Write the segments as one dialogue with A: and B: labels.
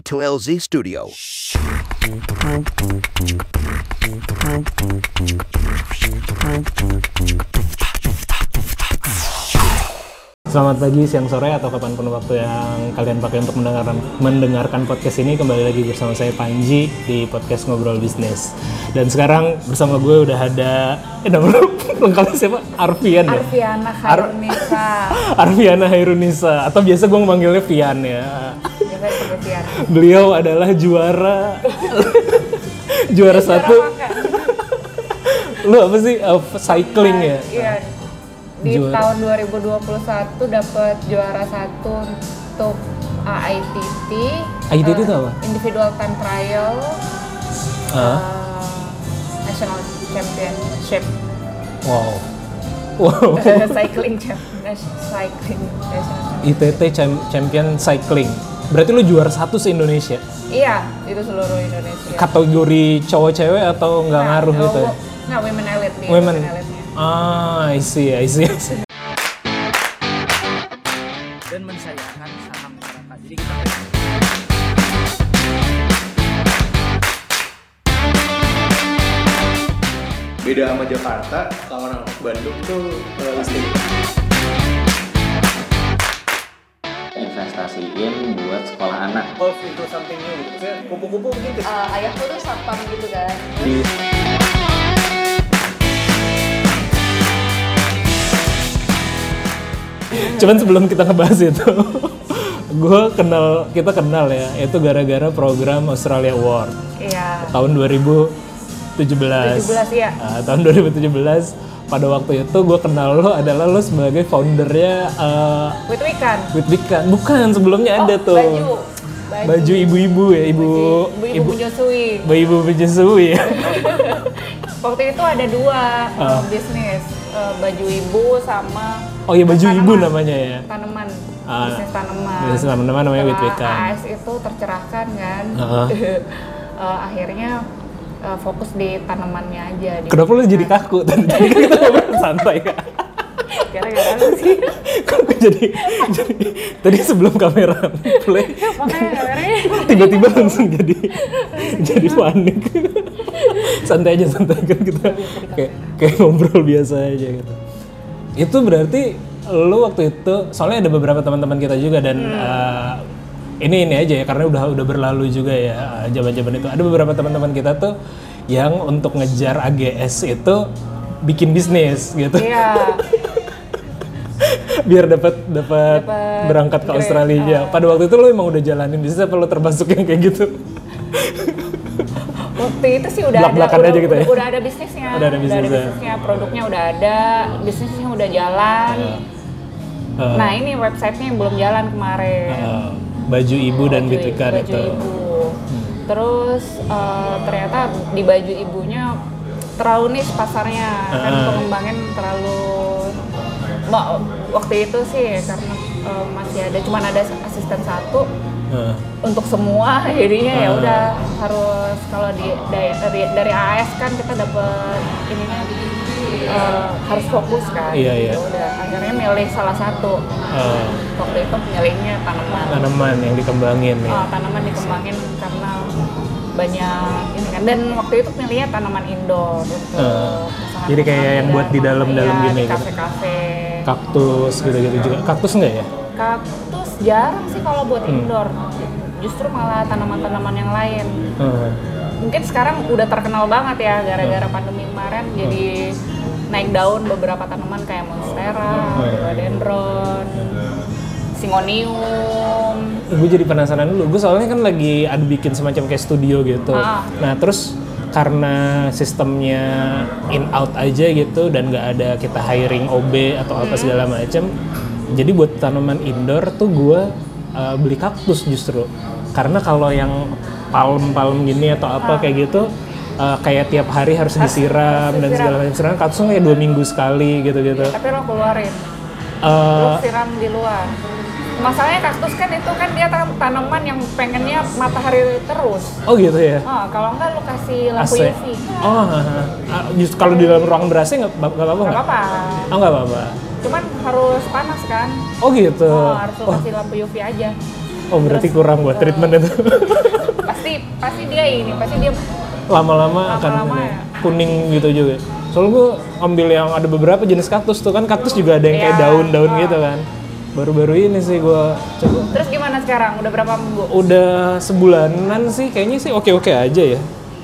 A: DG2LZ Studio.
B: Selamat pagi, siang, sore, atau kapanpun waktu yang kalian pakai untuk mendengarkan, mendengarkan podcast ini Kembali lagi bersama saya Panji di podcast Ngobrol Bisnis Dan sekarang bersama gue udah ada, eh nama lu lengkapnya siapa? Arfian ya?
C: Arviana
B: Ar-
C: Khairunisa
B: Arfiana Hairunisa, atau biasa gue manggilnya Fian ya
C: Biasa disebut Fian
B: Beliau adalah juara Juara
C: Iya,
B: satu, lu apa sih? Uh, cycling ya?
C: Iya Di
B: Juara.
C: tahun 2021 dapat juara satu untuk uh, ITT
B: ITT itu apa?
C: Uh, Individual Time Trial
B: Ah.
C: uh, National Championship
B: Wow Wow
C: Cycling Championship Cycling National Championship.
B: ITT Cham- Champion Cycling. Berarti lu juara satu se Indonesia.
C: Iya, itu seluruh Indonesia Nah,
B: Kategori cowok cewek atau nggak ngaruh gitu? ya?
C: Nggak, nah, women elite nih
B: Women.
C: elite-nya.
B: Ah, I see, I see. I see.
D: dan mensayangkan saham masyarakat. Jadi kita
E: beda sama Jakarta kalau orang Bandung tuh eh, listrik
F: investasiin buat sekolah anak.
E: golf itu something new gitu Maksudnya kupu-kupu mungkin ke-
C: Eh, ayahku tuh satpam gitu kan
B: Cuman sebelum kita ngebahas itu, gue kenal, kita kenal ya, itu gara-gara program Australia Award
C: Iya
B: tahun 2017.
C: 17 ya
B: Ah, tahun 2017 pada waktu itu gue kenal lo adalah lo sebagai foundernya eh,
C: With Wikan.
B: With Wikan. Bukan sebelumnya ada
C: Oh,
B: tuh.
C: Baju.
B: baju ibu-ibu ya ibu
C: Ibu, ibu, menyusui.
B: ibu menyusui ya
C: Waktu itu ada dua eh, bisnis, Eh, baju ibu sama
B: Ah. oh ya baju ibu
C: Tanaman.
B: namanya ya
C: tanaman.
B: Ah,
C: bisnis tanaman.
B: bisnis tanaman namanya kan? Ah. With
C: Setelah
B: Wikan.
C: AS itu tercerahkan kan.
B: Heeh.
C: Eh, akhirnya eh, fokus di tanamannya aja. di
B: kenapa lu jadi
C: Wikan.
B: kaku tadi tadi kan kita ngobrol santai kak
C: Gara-gara lu sih.
B: Kok jadi jadi tadi sebelum kamera play
C: Makanya kameranya
B: tiba-tiba langsung jadi jadi panik santai aja santai kan kita kayak kayak ngobrol biasa aja gitu itu berarti lo waktu itu soalnya ada beberapa teman-teman kita juga dan
C: Hmm.
B: eh, ini ini aja ya karena udah udah berlalu juga ya eh, zaman-zaman itu ada beberapa teman-teman kita tuh yang untuk ngejar AGS itu bikin bisnis gitu
C: Iya.
B: biar dapat dapat
C: Dapat
B: berangkat ke
C: grade, Ah.
B: Australia. Pada waktu itu lo emang udah jalanin bisnis apa lo termasuk yang kayak gitu?
C: Waktu itu sih udah
B: Blak-blakan
C: ada
B: aja
C: udah,
B: gitu ya?
C: udah, ada bisnisnya.
B: Udah ada bisnisnya.
C: produknya udah ada, bisnisnya udah jalan.
B: Iya. Eh,
C: Nah, ini websitenya yang belum jalan kemarin.
B: eh, baju ibu dan
C: Baju-
B: bitikan
C: baju
B: itu. Hmm.
C: ibu. Terus eh, ternyata di baju ibunya terlalu niche pasarnya. Kan
B: Ah.
C: pengembangan terlalu Mbak, waktu itu sih karena eh, masih ada cuman ada asisten satu
B: Eh,
C: untuk semua jadinya ya
B: Ah.
C: udah harus kalau di dari, dari- dari AS kan kita dapet ininya eh, harus fokus kan
B: Iya, iya.
C: Ya udah akhirnya milih salah satu
B: eh,
C: waktu itu pilihnya tanaman
B: tanaman yang dikembangin ya.
C: Eh, tanaman dikembangin karena banyak ini kan dan waktu itu pilihnya tanaman indoor untuk
B: Ah.
C: pasangan
B: Jadi kayak
C: rumah
B: yang
C: tangga,
B: buat di dalam-dalam
C: iya,
B: gini
C: di
B: gitu.
C: kafe-kafe
B: Kaktus gitu-gitu juga. Kaktus enggak ya?
C: kaktus jarang sih kalau buat
B: Hmm.
C: indoor justru malah tanaman-tanaman yang lain
B: Eh,
C: mungkin sekarang udah terkenal banget ya gara-gara pandemi kemarin jadi naik daun beberapa tanaman kayak monstera, rhododendron, singonium.
B: gue jadi penasaran dulu. Gue soalnya kan lagi ada bikin semacam kayak studio gitu.
C: Ah.
B: Nah terus karena sistemnya in out aja gitu dan nggak ada kita hiring OB atau apa segala macam. Jadi buat tanaman indoor tuh gue uh, beli kaktus justru. Karena kalau yang palem-palem gini atau apa kayak gitu uh, kayak tiap hari harus disiram dan segala macam. Sedangkan kaktusnya kayak dua minggu sekali gitu-gitu.
C: Tapi lo keluarin,
B: Uh,
C: lo siram di luar. Masalahnya kaktus kan itu kan dia tan- tanaman yang pengennya matahari terus.
B: oh gitu ya.
C: Oh, kalau enggak lo kasih lampu
B: AC.
C: UV.
B: Oh, ah, ah. Just- kalau di dalam ruangan berasnya nggak nggak apa-apa
C: Gak
B: nggak?
C: apa-apa.
B: Oh nggak apa-apa.
C: Cuman harus panas kan.
B: Oh gitu.
C: Oh, eh, harus lo
B: Wah,
C: kasih lampu UV aja.
B: Oh berarti kurang buat treatment itu.
C: pasti pasti dia ini pasti dia
B: Lama-lama akan
C: Lama-lama
B: ini,
C: ya.
B: kuning gitu juga. Soalnya gue ambil yang ada beberapa jenis kaktus tuh kan kaktus juga ada yang kayak
C: Iya.
B: daun-daun gitu kan. Baru-baru ini sih gue coba.
C: terus gimana sekarang udah berapa minggu Oh,
B: Udah sebulanan sih kayaknya sih oke-oke aja ya.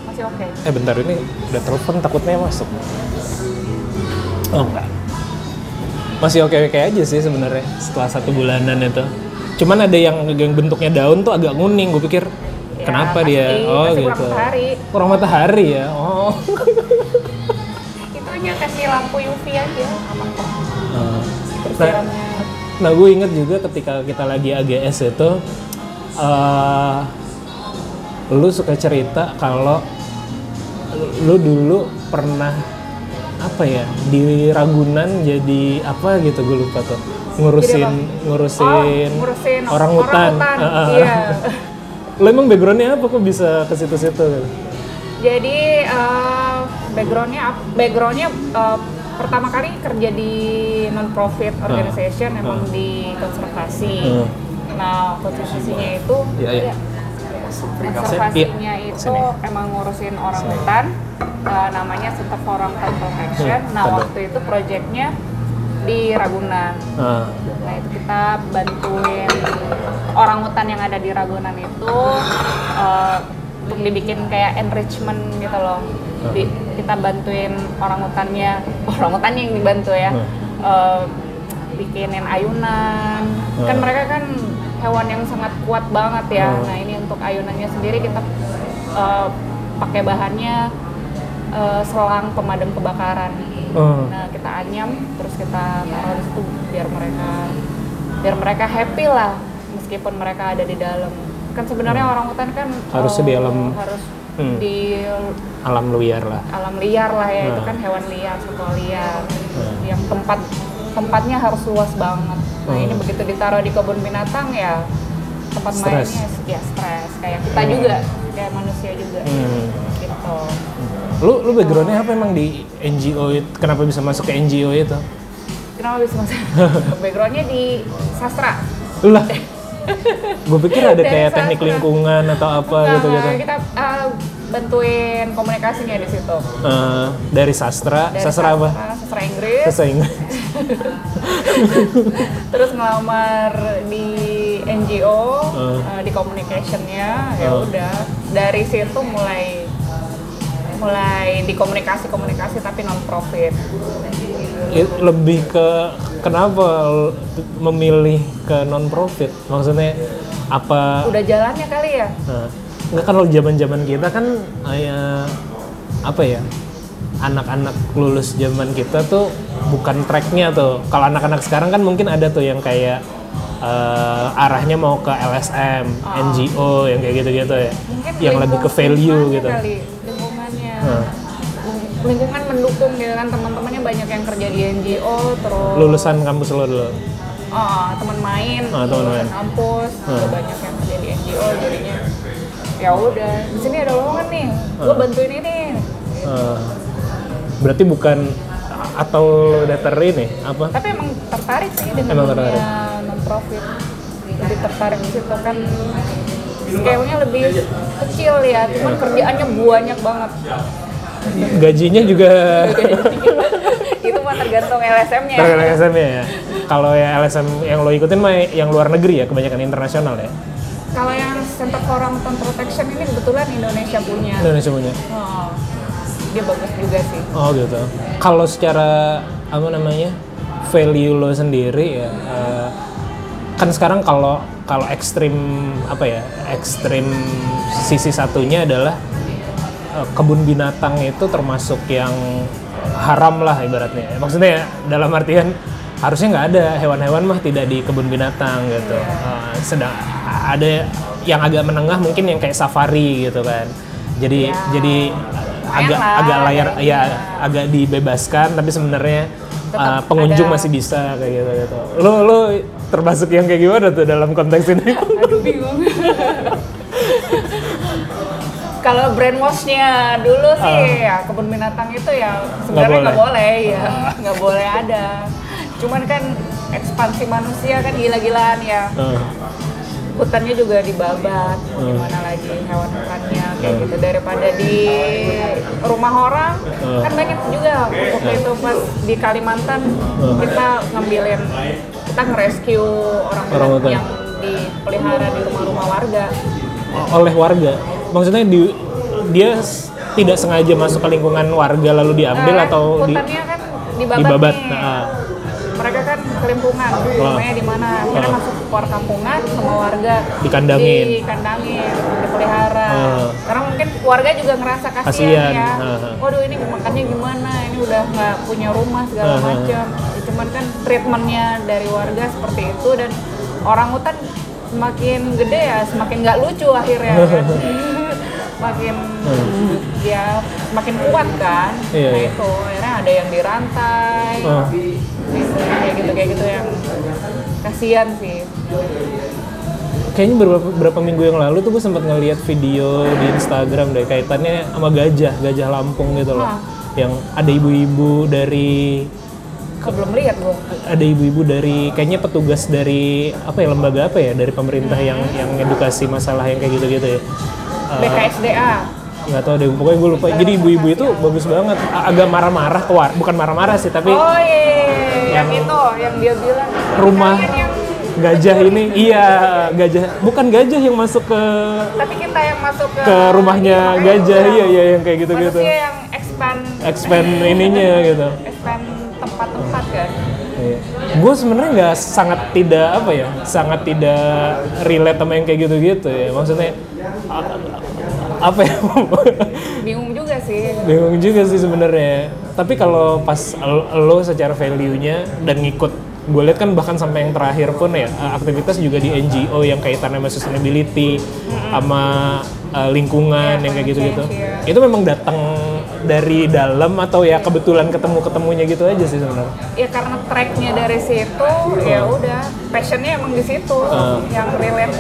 C: masih oke
B: Eh bentar ini udah telepon takutnya masuk. Oh enggak. Masih oke-oke aja sih sebenarnya setelah satu bulanan itu. Cuman ada yang yang bentuknya daun tuh agak kuning, gue pikir
C: Ya,
B: kenapa
C: pasti,
B: dia? Oh
C: pasti
B: gitu.
C: kurang matahari
B: Kurang matahari ya. Oh.
C: itunya kasih lampu UV aja aman kok terus
B: Nah,
C: siramnya
B: Nah, gue inget juga ketika kita lagi AGS itu, eh lu suka cerita kalau lu dulu pernah apa ya di Ragunan jadi apa gitu gue lupa tuh
C: Jadi
B: ngurusin
C: apa?
B: ngurusin,
C: Oh, ngurusin
B: orang hutan.
C: orang-utan,
B: Heeh.
C: iya.
B: Lu emang backgroundnya apa kok bisa ke situ-situ?
C: jadi eh, backgroundnya ap- backgroundnya eh, pertama kali kerja di non profit
B: Ah.
C: organization emang di konservasi
B: Hmm.
C: nah konservasinya itu
B: Iya, iya.
C: konservasinya itu
B: Sini.
C: emang ngurusin orang hutan eh, namanya Center for Orang Hutan Protection nah
B: Tanda.
C: waktu itu proyeknya di Ragunan
B: Nah,
C: Nah itu kita bantuin orang hutan yang ada di Ragunan itu eh, untuk dibikin kayak enrichment gitu loh. Di- kita bantuin orang hutannya, orang hutannya yang dibantu ya.
B: Hmm.
C: Eh, bikinin ayunan. Kan
B: Hmm.
C: mereka kan hewan yang sangat kuat banget ya.
B: Hmm.
C: Nah ini untuk ayunannya sendiri kita eh, pakai bahannya eh, selang pemadam kebakaran.
B: eh,
C: Nah, kita anyam terus kita taruh di situ biar mereka biar mereka happy lah meskipun mereka ada di dalam. Kan sebenarnya orang hutan kan
B: Harusnya Hmm. di
C: eh,
B: alam-
C: harus
B: Hmm.
C: di
B: alam liar lah.
C: alam liar lah ya. Itu
B: Nah.
C: kan hewan liar, satwa liar.
B: Nah.
C: Yang tempat tempatnya harus luas banget. Nah,
B: Hmm.
C: ini begitu ditaruh di kebun binatang ya tempat
B: Stres.
C: mainnya ya stres kayak kita juga kayak manusia juga
B: Hmm.
C: gitu.
B: Lu lu backgroundnya apa emang di NGO? itu? Kenapa bisa masuk ke NGO itu?
C: Kenapa bisa masuk? Backgroundnya di sastra.
B: lah gue pikir ada
C: Eh. Dari
B: kayak
C: sastra.
B: teknik lingkungan atau apa
C: Enggak,
B: gitu gitu
C: enggak. Kita uh, bantuin komunikasinya di situ.
B: Eh, dari sastra
C: Dari
B: sastra apa
C: Sastra Inggris.
B: sastra Inggris
C: Terus ngelamar di NGO,
B: Eh.
C: uh, di communication-nya ya
B: Eh.
C: udah. Dari situ mulai mulai di komunikasi-komunikasi tapi non profit.
B: I- lebih ke kenapa l- memilih ke non profit maksudnya apa
C: Udah jalannya kali ya?
B: Nah, nggak kalau zaman zaman kita kan eh, apa ya anak-anak lulus zaman kita tuh bukan tracknya tuh kalau anak-anak sekarang kan mungkin ada tuh yang kayak eh, arahnya mau ke LSM, NGO yang kayak gitu-gitu ya,
C: Ah. Mungkin
B: yang lebih ke
C: lingkung-
B: value
C: lingkungannya
B: gitu.
C: Kali, lingkungannya.
B: Nah,
C: Ling- Lingkungan mendukung gitu kan teman-temannya banyak yang kerja di NGO terus
B: lulusan kampus lo dulu.
C: Oh, teman main,
B: Ah, teman
C: lulusan
B: main.
C: kampus, ada
B: Ah.
C: banyak yang kerja di NGO jadinya. Ya udah, di sini ada lowongan nih, gua
B: Ah.
C: bantuin ini.
B: Eh, berarti bukan atau datar ini apa?
C: Tapi emang tertarik sih dengan
B: Emang
C: dunia
B: tertarik.
C: non profit. Jadi tertarik di situ kan scale-nya lebih kecil ya, cuman
B: Iya.
C: kerjaannya banyak banget.
B: Gajinya juga
C: Itu mah tergantung LSM-nya.
B: Terkait LSM ya. Kalau yang LSM E yang lo ikutin mah yang luar negeri ya, kebanyakan internasional ya.
C: Kalau yang Center for Orangutan Protection ini kebetulan Indonesia punya.
B: Indonesia punya.
C: Oh, dia bagus juga sih.
B: Oh gitu. Kalau secara apa namanya value lo sendiri ya, eh, kan sekarang kalau kalau ekstrim apa ya ekstrim sisi satunya adalah eh, kebun binatang itu termasuk yang haram lah ibaratnya. Maksudnya ya, dalam artian harusnya nggak ada hewan-hewan mah tidak di kebun binatang gitu. Eh, sedang ada yang agak menengah mungkin yang kayak safari gitu kan. Jadi jadi agak
C: lah,
B: agak layar
C: ada
B: ya agak dibebaskan tapi sebenarnya uh, pengunjung masih bisa kayak gitu gitu. Lo lo termasuk yang kayak gimana tuh dalam konteks ini?
C: Aduh bingung. Kalau brainwash-nya dulu sih ya kebun binatang itu ya sebenarnya nggak boleh. ya nggak boleh ada. Cuman kan ekspansi manusia kan gila-gilaan ya.
B: Uh,
C: hutannya juga dibabat mau gimana lagi hewan-hewannya kayak gitu daripada di rumah orang kan banyak juga waktu itu pas di Kalimantan kita ngambilin kita ngerescue orang
B: Orang-orang.
C: yang dipelihara di rumah-rumah warga
B: oleh warga. Maksudnya di, dia s- tidak sengaja masuk ke lingkungan warga lalu diambil
C: Nah,
B: atau di
C: hutannya kan dibabat,
B: dibabat,
C: nih.
B: nah.
C: mereka kan kelimpungan rumahnya di mana akhirnya
B: Ah.
C: masuk ke luar kampungan sama warga
B: Dikandangin.
C: dikandangin dipelihara
B: Ah.
C: karena mungkin warga juga ngerasa kasihan,
B: Kasihan,
C: ya
B: ah, ah.
C: waduh ini makannya gimana ini udah nggak punya rumah segala
B: Ah, ah, ah.
C: macam Ya, cuman kan treatmentnya dari warga seperti itu dan orang hutan semakin gede ya semakin nggak lucu akhirnya kan makin ya makin kuat kan
B: Hmm. Iya,
C: nah
B: iya.
C: itu akhirnya ada yang dirantai
B: Ah.
C: kayak gitu kayak gitu yang kasihan sih
B: kayaknya beberapa, beberapa minggu yang lalu tuh gue sempat ngeliat video di Instagram deh kaitannya sama gajah, gajah Lampung gitu loh.
C: Ah.
B: Yang ada ibu-ibu dari
C: Kok belum lihat gua
B: ada ibu-ibu dari kayaknya petugas dari apa ya lembaga apa ya dari pemerintah yang yang edukasi masalah yang kayak gitu-gitu ya. Eh,
C: BKSDA
B: nggak tahu deh pokoknya gue lupa jadi ibu-ibu itu bagus banget A- agak marah-marah ke war- bukan marah-marah sih tapi
C: oh iya yang itu yang dia bilang
B: rumah
C: "Kalian yang
B: gajah ini iya gajah bukan gajah yang masuk ke
C: tapi kita yang masuk ke,
B: ke rumahnya
C: rumah
B: gajah
C: orang.
B: iya iya yang kayak gitu-gitu
C: manusia yang expand ya.
B: expand ininya gitu
C: expand tempat-tempat kan
B: gue iya. sebenarnya nggak sangat tidak apa ya sangat tidak relate sama yang kayak gitu-gitu ya maksudnya a- apa ya
C: bingung juga sih
B: bingung juga sih sebenarnya tapi kalau pas el- lo secara value-nya dan ngikut gue lihat kan bahkan sampai yang terakhir pun ya aktivitas juga di NGO yang kaitannya sama sustainability sama uh, lingkungan
C: Iya,
B: yang kayak
C: climate
B: gitu-gitu
C: change, iya.
B: itu memang datang dari dalam atau ya kebetulan ketemu ketemunya gitu aja sih sebenarnya
C: ya karena tracknya dari situ ya
B: Hmm.
C: udah passionnya emang di situ
B: Ah.
C: yang relate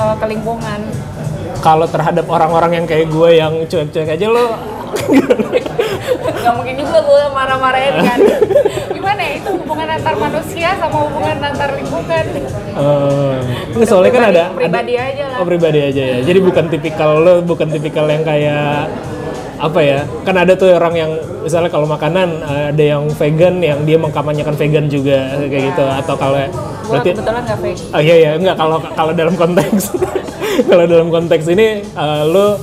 C: eh, ke lingkungan
B: kalau terhadap orang-orang yang kayak gue yang cuek-cuek aja lo
C: nggak mungkin juga gue marah-marahin kan gimana ya itu hubungan antar manusia sama hubungan antar lingkungan
B: eh, nggak, soalnya kan
C: Pribadi-
B: ada
C: pribadi
B: ada-
C: aja lah.
B: oh pribadi aja ya jadi bukan tipikal lo bukan tipikal yang kayak apa ya kan ada tuh orang yang misalnya kalau makanan eh, ada yang vegan yang dia mengkampanyekan vegan juga kayak gitu atau kalau
C: gue
B: berarti
C: kebetulan nggak fake
B: Oh iya iya enggak kalau kalau dalam konteks kalau dalam konteks ini eh, lo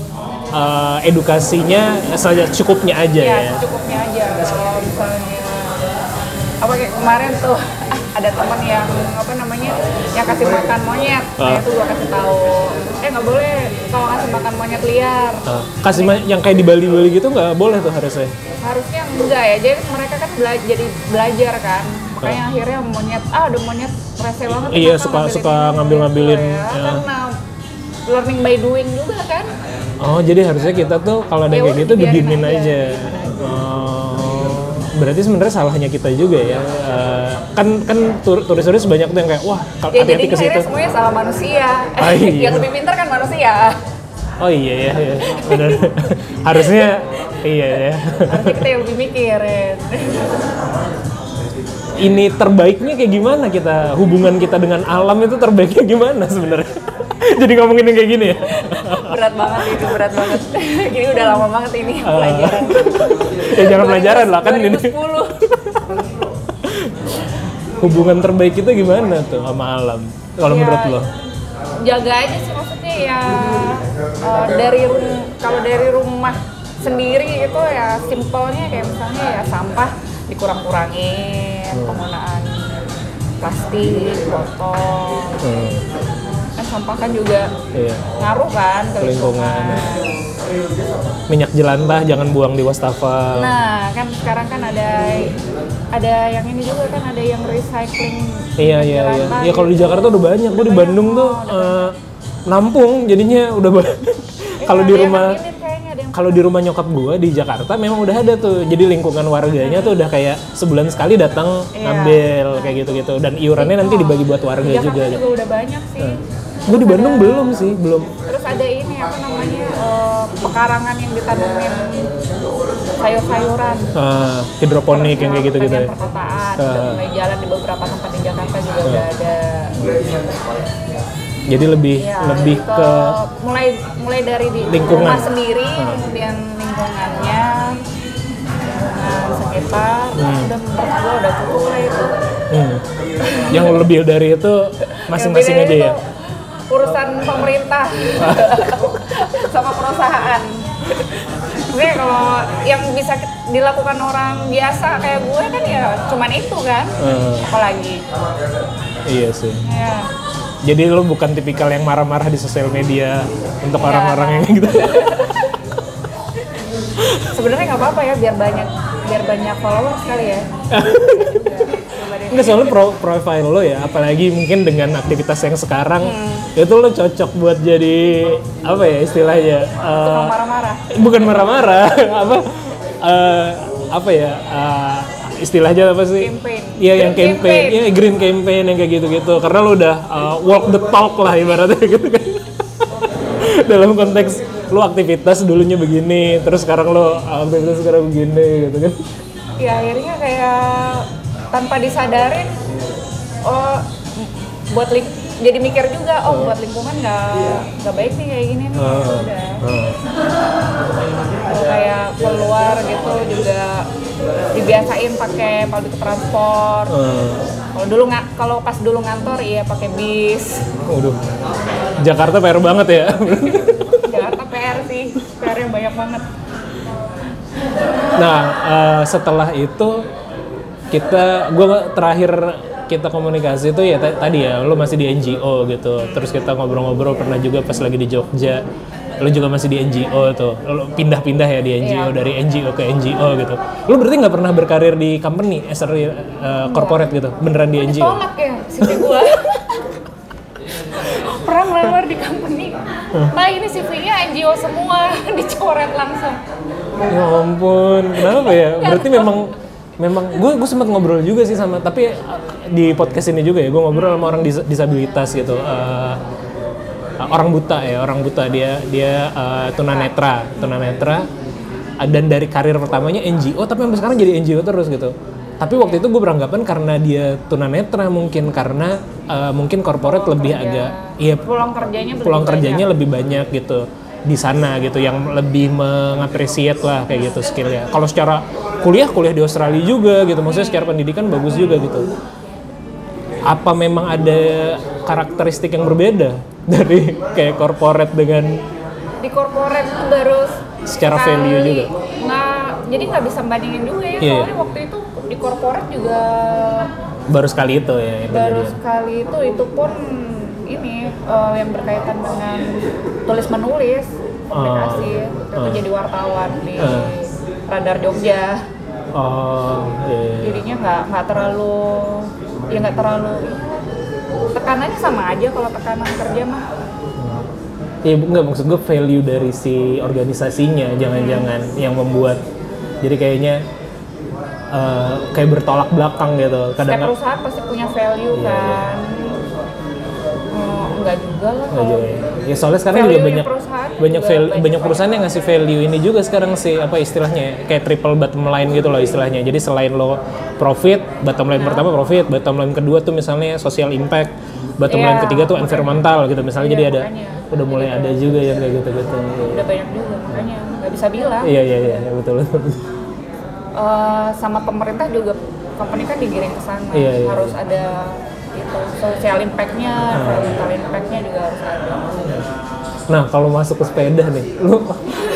B: eh, edukasinya saja cukupnya aja
C: ya
B: ya.
C: secukupnya aja kalau misalnya apa kayak kemarin tuh ada teman yang apa namanya yang kasih makan monyet nah
B: Ah.
C: itu gue kasih tahu eh nggak boleh kalau kasih makan monyet liar
B: Eh, kasih ma- yang kayak di Bali Bali gitu nggak boleh tuh harusnya.
C: harusnya enggak ya jadi mereka kan bela- jadi belajar kan makanya akhirnya monyet ah ada monyet rese banget
B: Iya,
C: kenapa
B: suka-
C: ngambilin
B: suka
C: ini?"
B: ngambil-ngambilin,
C: Gitu
B: ya.
C: karena learning by doing juga kan
B: Oh jadi harusnya kita tuh kalau ada
C: Ya
B: yang kayak
C: udah,
B: gitu
C: biarin
B: gedinin
C: aja.
B: aja. Oh, berarti sebenarnya salahnya kita juga ya. Eh, kan kan tur- turis-turis banyak tuh yang kayak wah kal-
C: ya
B: hati-hati
C: jadinya
B: ke situ.
C: akhirnya semuanya salah manusia
B: Ah, iya.
C: yang lebih pintar kan manusia
B: Oh iya ya, iya. benar. harusnya iya ya.
C: harusnya kita yang lebih ya. mikirin
B: Ini terbaiknya kayak gimana kita hubungan kita dengan alam itu terbaiknya gimana sebenarnya? jadi ngomongin yang kayak gini ya.
C: berat banget itu berat banget gini udah lama banget ini pelajaran
B: Ah, ya jangan pelajaran lah kan ini.
C: 2010
B: hubungan terbaik kita gimana tuh sama alam kalau
C: Ya,
B: menurut lo
C: jaga aja sih maksudnya ya eh, dari rum- kalau dari rumah sendiri itu ya simpelnya kayak misalnya ya sampah dikurang-kurangin penggunaan plastik botol
B: Hmm,
C: kan sampah kan juga
B: iya.
C: ngaruh kan ke
B: Ke lingkungan.
C: lingkungan
B: minyak jelantah jangan buang di wastafel
C: nah kan sekarang kan ada ada yang ini juga kan ada yang recycling
B: iya iya iya
C: Jelantah
B: ya kalau di
C: gitu.
B: Jakarta udah banyak gue di
C: Udah
B: Bandung
C: banyak,
B: tuh
C: oh,
B: eh, nampung jadinya udah ba-
C: Eh,
B: kalau di
C: ada yang
B: rumah
C: ini kayaknya ada yang
B: kalau di rumah nyokap gue di Jakarta memang udah ada tuh jadi lingkungan warganya tuh udah kayak sebulan sekali datang
C: Iya.
B: ngambil kayak gitu gitu dan iurannya nanti dibagi buat warga
C: di Jakarta
B: juga Hmm.
C: juga udah banyak sih
B: gue di Bandung belum sih belum
C: terus ada ini apa namanya eh, pekarangan yang ditanemin sayur-sayuran
B: eh, hidroponik yang kayak gitu gitu
C: Bagian
B: ya
C: perkotaan
B: Ah.
C: udah mulai jalan di beberapa tempat di Jakarta juga udah ada
B: Jadi lebih
C: Ya,
B: lebih ke
C: mulai mulai dari di
B: lingkungan.
C: rumah sendiri,
B: Hmm.
C: kemudian lingkungannya, lingkungan sekitar, udah menurut gua udah cukup lah itu.
B: hmm, yang lebih dari itu masing-masing
C: Yang
B: aja ya.
C: bedanya tuh Urusan pemerintah sama perusahaan. Oke, kalau yang bisa ke- dilakukan orang biasa kayak gue kan ya cuman itu kan.
B: Eh,
C: Apalagi.
B: iya sih.
C: Ya.
B: Jadi lo bukan tipikal yang marah-marah di sosial media untuk
C: Iya.
B: orang-orang yang gitu.
C: Sebenarnya nggak apa-apa ya biar banyak biar banyak followers kali ya. Coba deh.
B: Enggak soalnya pro profile lo ya, apalagi mungkin dengan aktivitas yang sekarang
C: Hmm.
B: itu lo cocok buat jadi apa ya istilahnya?
C: Tukang
B: eh,
C: marah-marah.
B: bukan marah-marah apa eh, apa ya eh, istilahnya apa sih
C: Campaign.
B: iya yang
C: Green
B: campaign
C: campaign.
B: Iya, green campaign yang kayak gitu-gitu karena lo udah eh, walk the talk lah ibaratnya gitu kan dalam konteks lo aktivitas dulunya begini terus sekarang lo aktivitas sekarang begini gitu kan
C: Ya akhirnya kayak tanpa disadarin oh buat ling- jadi mikir juga oh buat lingkungan nggak nggak baik nih kayak gini nih ya
B: Eh,
C: udah
B: eh.
C: Kalau kayak keluar gitu juga dibiasain pakai public transport
B: Eh.
C: kalau dulu nggak kalau pas dulu ngantor iya pakai bis
B: Waduh, Jakarta PR banget ya.
C: Jakarta PR sih PR yang banyak banget
B: nah, eh, setelah itu kita, gue terakhir kita komunikasi itu ya ta- tadi ya, lu masih di NGO gitu. Terus kita ngobrol-ngobrol pernah juga pas lagi di Jogja, lu juga masih di NGO tuh. Lu pindah-pindah ya di NGO
C: Iya.
B: dari NGO ke NGO gitu. Lu berarti nggak pernah berkarir di company, as a real, eh, corporate gitu, beneran di NGO?
C: tolak ya CV gua pernah ngelamar di company Pak ini CV-nya NGO semua dicoret langsung
B: Ya ampun, kenapa ya? Berarti memang memang gue gue sempat ngobrol juga sih sama tapi uh, di podcast ini juga ya gue ngobrol sama orang dis- disabilitas gitu. Uh, uh, orang buta ya, orang buta dia dia uh, tunanetra, tunanetra Uh, dan dari karir pertamanya NGO tapi sampai sekarang jadi NGO terus gitu. Tapi waktu itu gue beranggapan karena dia tunanetra mungkin karena uh, mungkin korporat lebih agak iya
C: pulang kerjanya belum
B: pulang
C: banyak.
B: kerjanya lebih banyak gitu di sana gitu yang lebih mengapresiat lah kayak gitu skillnya kalau secara kuliah kuliah di Australia juga gitu maksudnya secara pendidikan bagus juga gitu apa memang ada karakteristik yang berbeda dari kayak corporate dengan
C: di corporate tuh baru
B: Secara
C: sekali
B: value juga.
C: nggak jadi nggak bisa bandingin juga ya
B: Iya,
C: soalnya
B: iya.
C: waktu itu di corporate juga
B: baru sekali itu ya yang
C: baru
B: terjadi?
C: sekali itu itu pun ini eh, yang berkaitan dengan tulis menulis
B: Ah.
C: komunikasi Waktu itu
B: eh.
C: jadi wartawan di
B: Eh.
C: radar Jogja
B: oh iya, iya.
C: jadinya nggak nggak terlalu ya nggak terlalu tekanannya sama aja kalau tekanan kerja mah
B: Iya, enggak maksud gue value dari si organisasinya jangan-jangan yang membuat jadi kayaknya eh, kayak bertolak belakang gitu
C: setiap
B: kadang
C: perusahaan pasti punya value
B: Iya, iya.
C: kan Hmm, nggak juga lah
B: Nggak
C: kalau
B: juga ya. Ya, soalnya sekarang juga
C: Value-nya
B: banyak
C: perusahaan
B: banyak
C: juga
B: val-
C: banyak
B: banyak perusahaan yang ngasih value ini juga sekarang sih apa istilahnya ya, kayak triple bottom line gitu loh istilahnya. Jadi selain lo profit, bottom line pertama profit, bottom line kedua tuh misalnya social impact, bottom line
C: Iya,
B: ketiga tuh environmental gitu misalnya.
C: Iya,
B: jadi ada
C: makanya.
B: udah mulai ada juga yang kayak gitu-gitu.
C: udah banyak juga makanya nggak bisa bilang
B: Iya iya iya betul.
C: Eh, sama pemerintah juga company kan digiring ke sana
B: Iya, Ah. iya.
C: harus ada itu social impact-nya, environmental impact-nya juga harus ada.
B: Nah, kalau masuk ke sepeda nih, lu,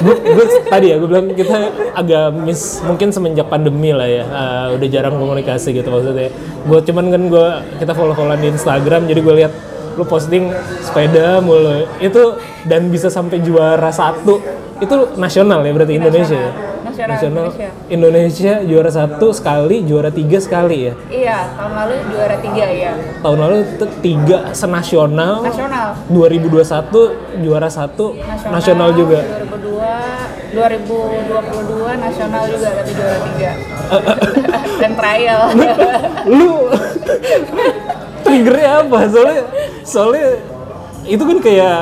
B: gue, gue tadi ya, gue bilang kita agak miss, mungkin semenjak pandemi lah ya, eh, udah jarang komunikasi gitu maksudnya. Gue cuman kan gue kita follow-followan di Instagram, jadi gue lihat lu posting sepeda mulu itu dan bisa sampai juara satu itu nasional ya berarti Indonesia ya?
C: Nasional, Indonesia.
B: Indonesia juara satu sekali juara tiga sekali ya
C: Iya, tahun lalu juara tiga ya,
B: tahun lalu itu tiga senasional
C: nasional.
B: 2021 juara satu nasional, juga
C: 2002, 2022 nasional juga tapi juara tiga dan trial.
B: lu triggernya apa soalnya soalnya itu kan kayak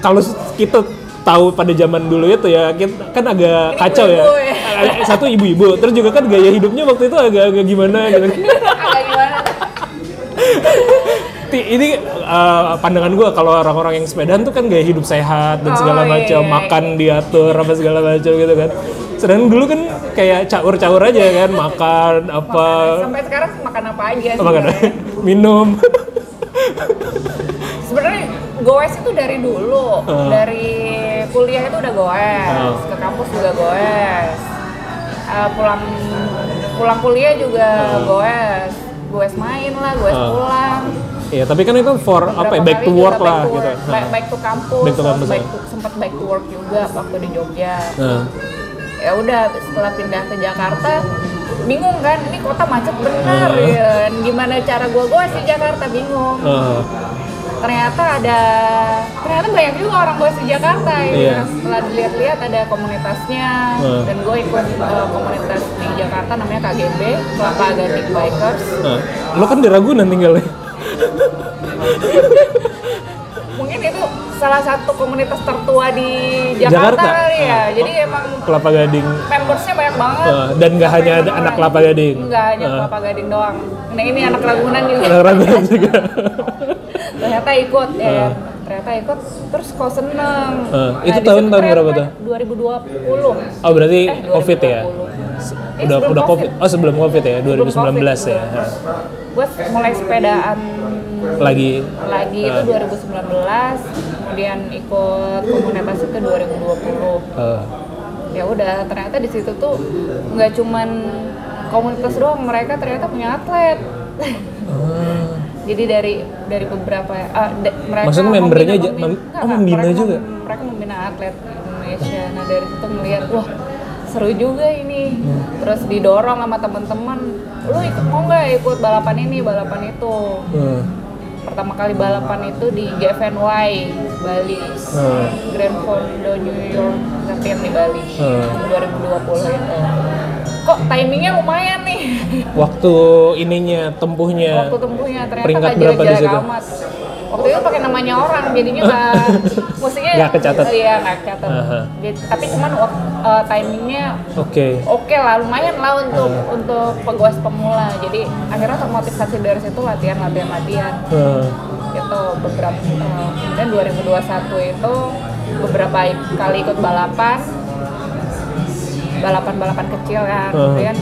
B: kalau kita tahu pada zaman dulu itu ya kita kan agak kacau ya
C: ibu-ibu ya.
B: satu ibu-ibu terus juga kan gaya hidupnya waktu itu agak agak gimana gitu
C: Agak gimana?
B: Ti- ini uh, pandangan gue kalau orang-orang yang sepedaan tuh kan gaya hidup sehat dan
C: Oh,
B: segala
C: iya,
B: macam
C: iya.
B: makan diatur apa segala macam gitu kan sedangkan dulu kan kayak caur-caur aja kan makan apa
C: sampai sekarang makan apa aja sih
B: makan
C: sebenarnya?
B: minum
C: sebenarnya goes itu dari dulu
B: Ah.
C: dari kuliah itu udah goes
B: Ah.
C: ke kampus juga goes Eh, pulang pulang kuliah juga goes goes main lah goes
B: Ah.
C: pulang
B: ya tapi kan itu for apa ya,
C: Beberapa
B: back
C: kali
B: to
C: juga
B: work
C: back
B: lah
C: to
B: gitu
C: work. Ba- back to kampus,
B: Back to
C: terus
B: kampus,
C: back
B: ya.
C: to- sempat back to work juga waktu di Jogja
B: Nah,
C: ya udah setelah pindah ke Jakarta bingung kan ini kota macet bener
B: Ah.
C: ya gimana cara gua gua di Jakarta bingung
B: eh,
C: ternyata ada ternyata banyak juga orang gue di Jakarta ya
B: Iya.
C: setelah dilihat-lihat ada komunitasnya
B: Hmm.
C: dan gue ikut eh, komunitas di Jakarta namanya KGB Kelapa Gading Bikers
B: eh. lo kan di Ragunan tinggalnya
C: mungkin itu salah satu komunitas tertua di Jakarta,
B: Jakarta?
C: kali ya
B: Ah.
C: jadi emang
B: Kelapa Gading
C: membersnya banyak banget
B: Ah, dan nggak hanya ada anak Kelapa Gading?
C: nggak hanya
B: Ah.
C: Kelapa Gading doang nah ini anak Ragunan juga
B: Anak Ragunan juga
C: ternyata ikut ya
B: Ah.
C: ternyata ikut terus kok seneng Nah,
B: Ah, itu
C: di situ
B: tahun- tahun berapa
C: ternyata 2020
B: oh berarti
C: Eh,
B: covid ya
C: 2020.
B: Se-
C: Eh,
B: udah
C: sebelum
B: udah covid
C: COVID.
B: oh sebelum covid ya 2019 ya
C: Sebelum
B: Hah.
C: gue mulai sepedaan
B: lagi
C: lagi itu
B: Ah.
C: 2019 kemudian ikut komunitas itu 2020
B: Eh,
C: ya udah ternyata di situ tuh nggak cuman komunitas doang mereka ternyata punya atlet
B: Oh.
C: jadi dari dari beberapa ah, da- mereka
B: Maksudnya membernya aja-
C: membina-
B: mem-
C: enggak,
B: oh,
C: enggak,
B: membina
C: mereka
B: juga?
C: mem- mereka membina atlet Indonesia nah dari situ melihat wah seru juga ini
B: Ya.
C: terus didorong sama teman-teman lu ikut mau nggak ikut balapan ini balapan itu
B: eh.
C: pertama kali balapan itu di GFNY Bali
B: Hmm.
C: Grand Fondo New York Champion di Bali
B: Hmm.
C: 2020 itu kok timingnya lumayan nih
B: waktu ininya tempuhnya
C: waktu tempuhnya ternyata
B: Iya. peringkat
C: nggak
B: berapa di
C: jelek-jelek
B: situ?
C: amat waktu itu pakai namanya orang jadinya nggak musiknya
B: Nggak kecatat.
C: iya nggak kecatat
B: Aha.
C: Jadi- tapi cuman wak- eh, timingnya
B: Oke.
C: oke lah lumayan lah untuk
B: Hmm.
C: untuk peguas pemula jadi akhirnya termotivasi dari situ latihan latihan latihan
B: Eh,
C: itu beberapa eh, kemudian 2021 itu beberapa i- kali ikut balapan balapan balapan kecil kan
B: Hmm.
C: kemudian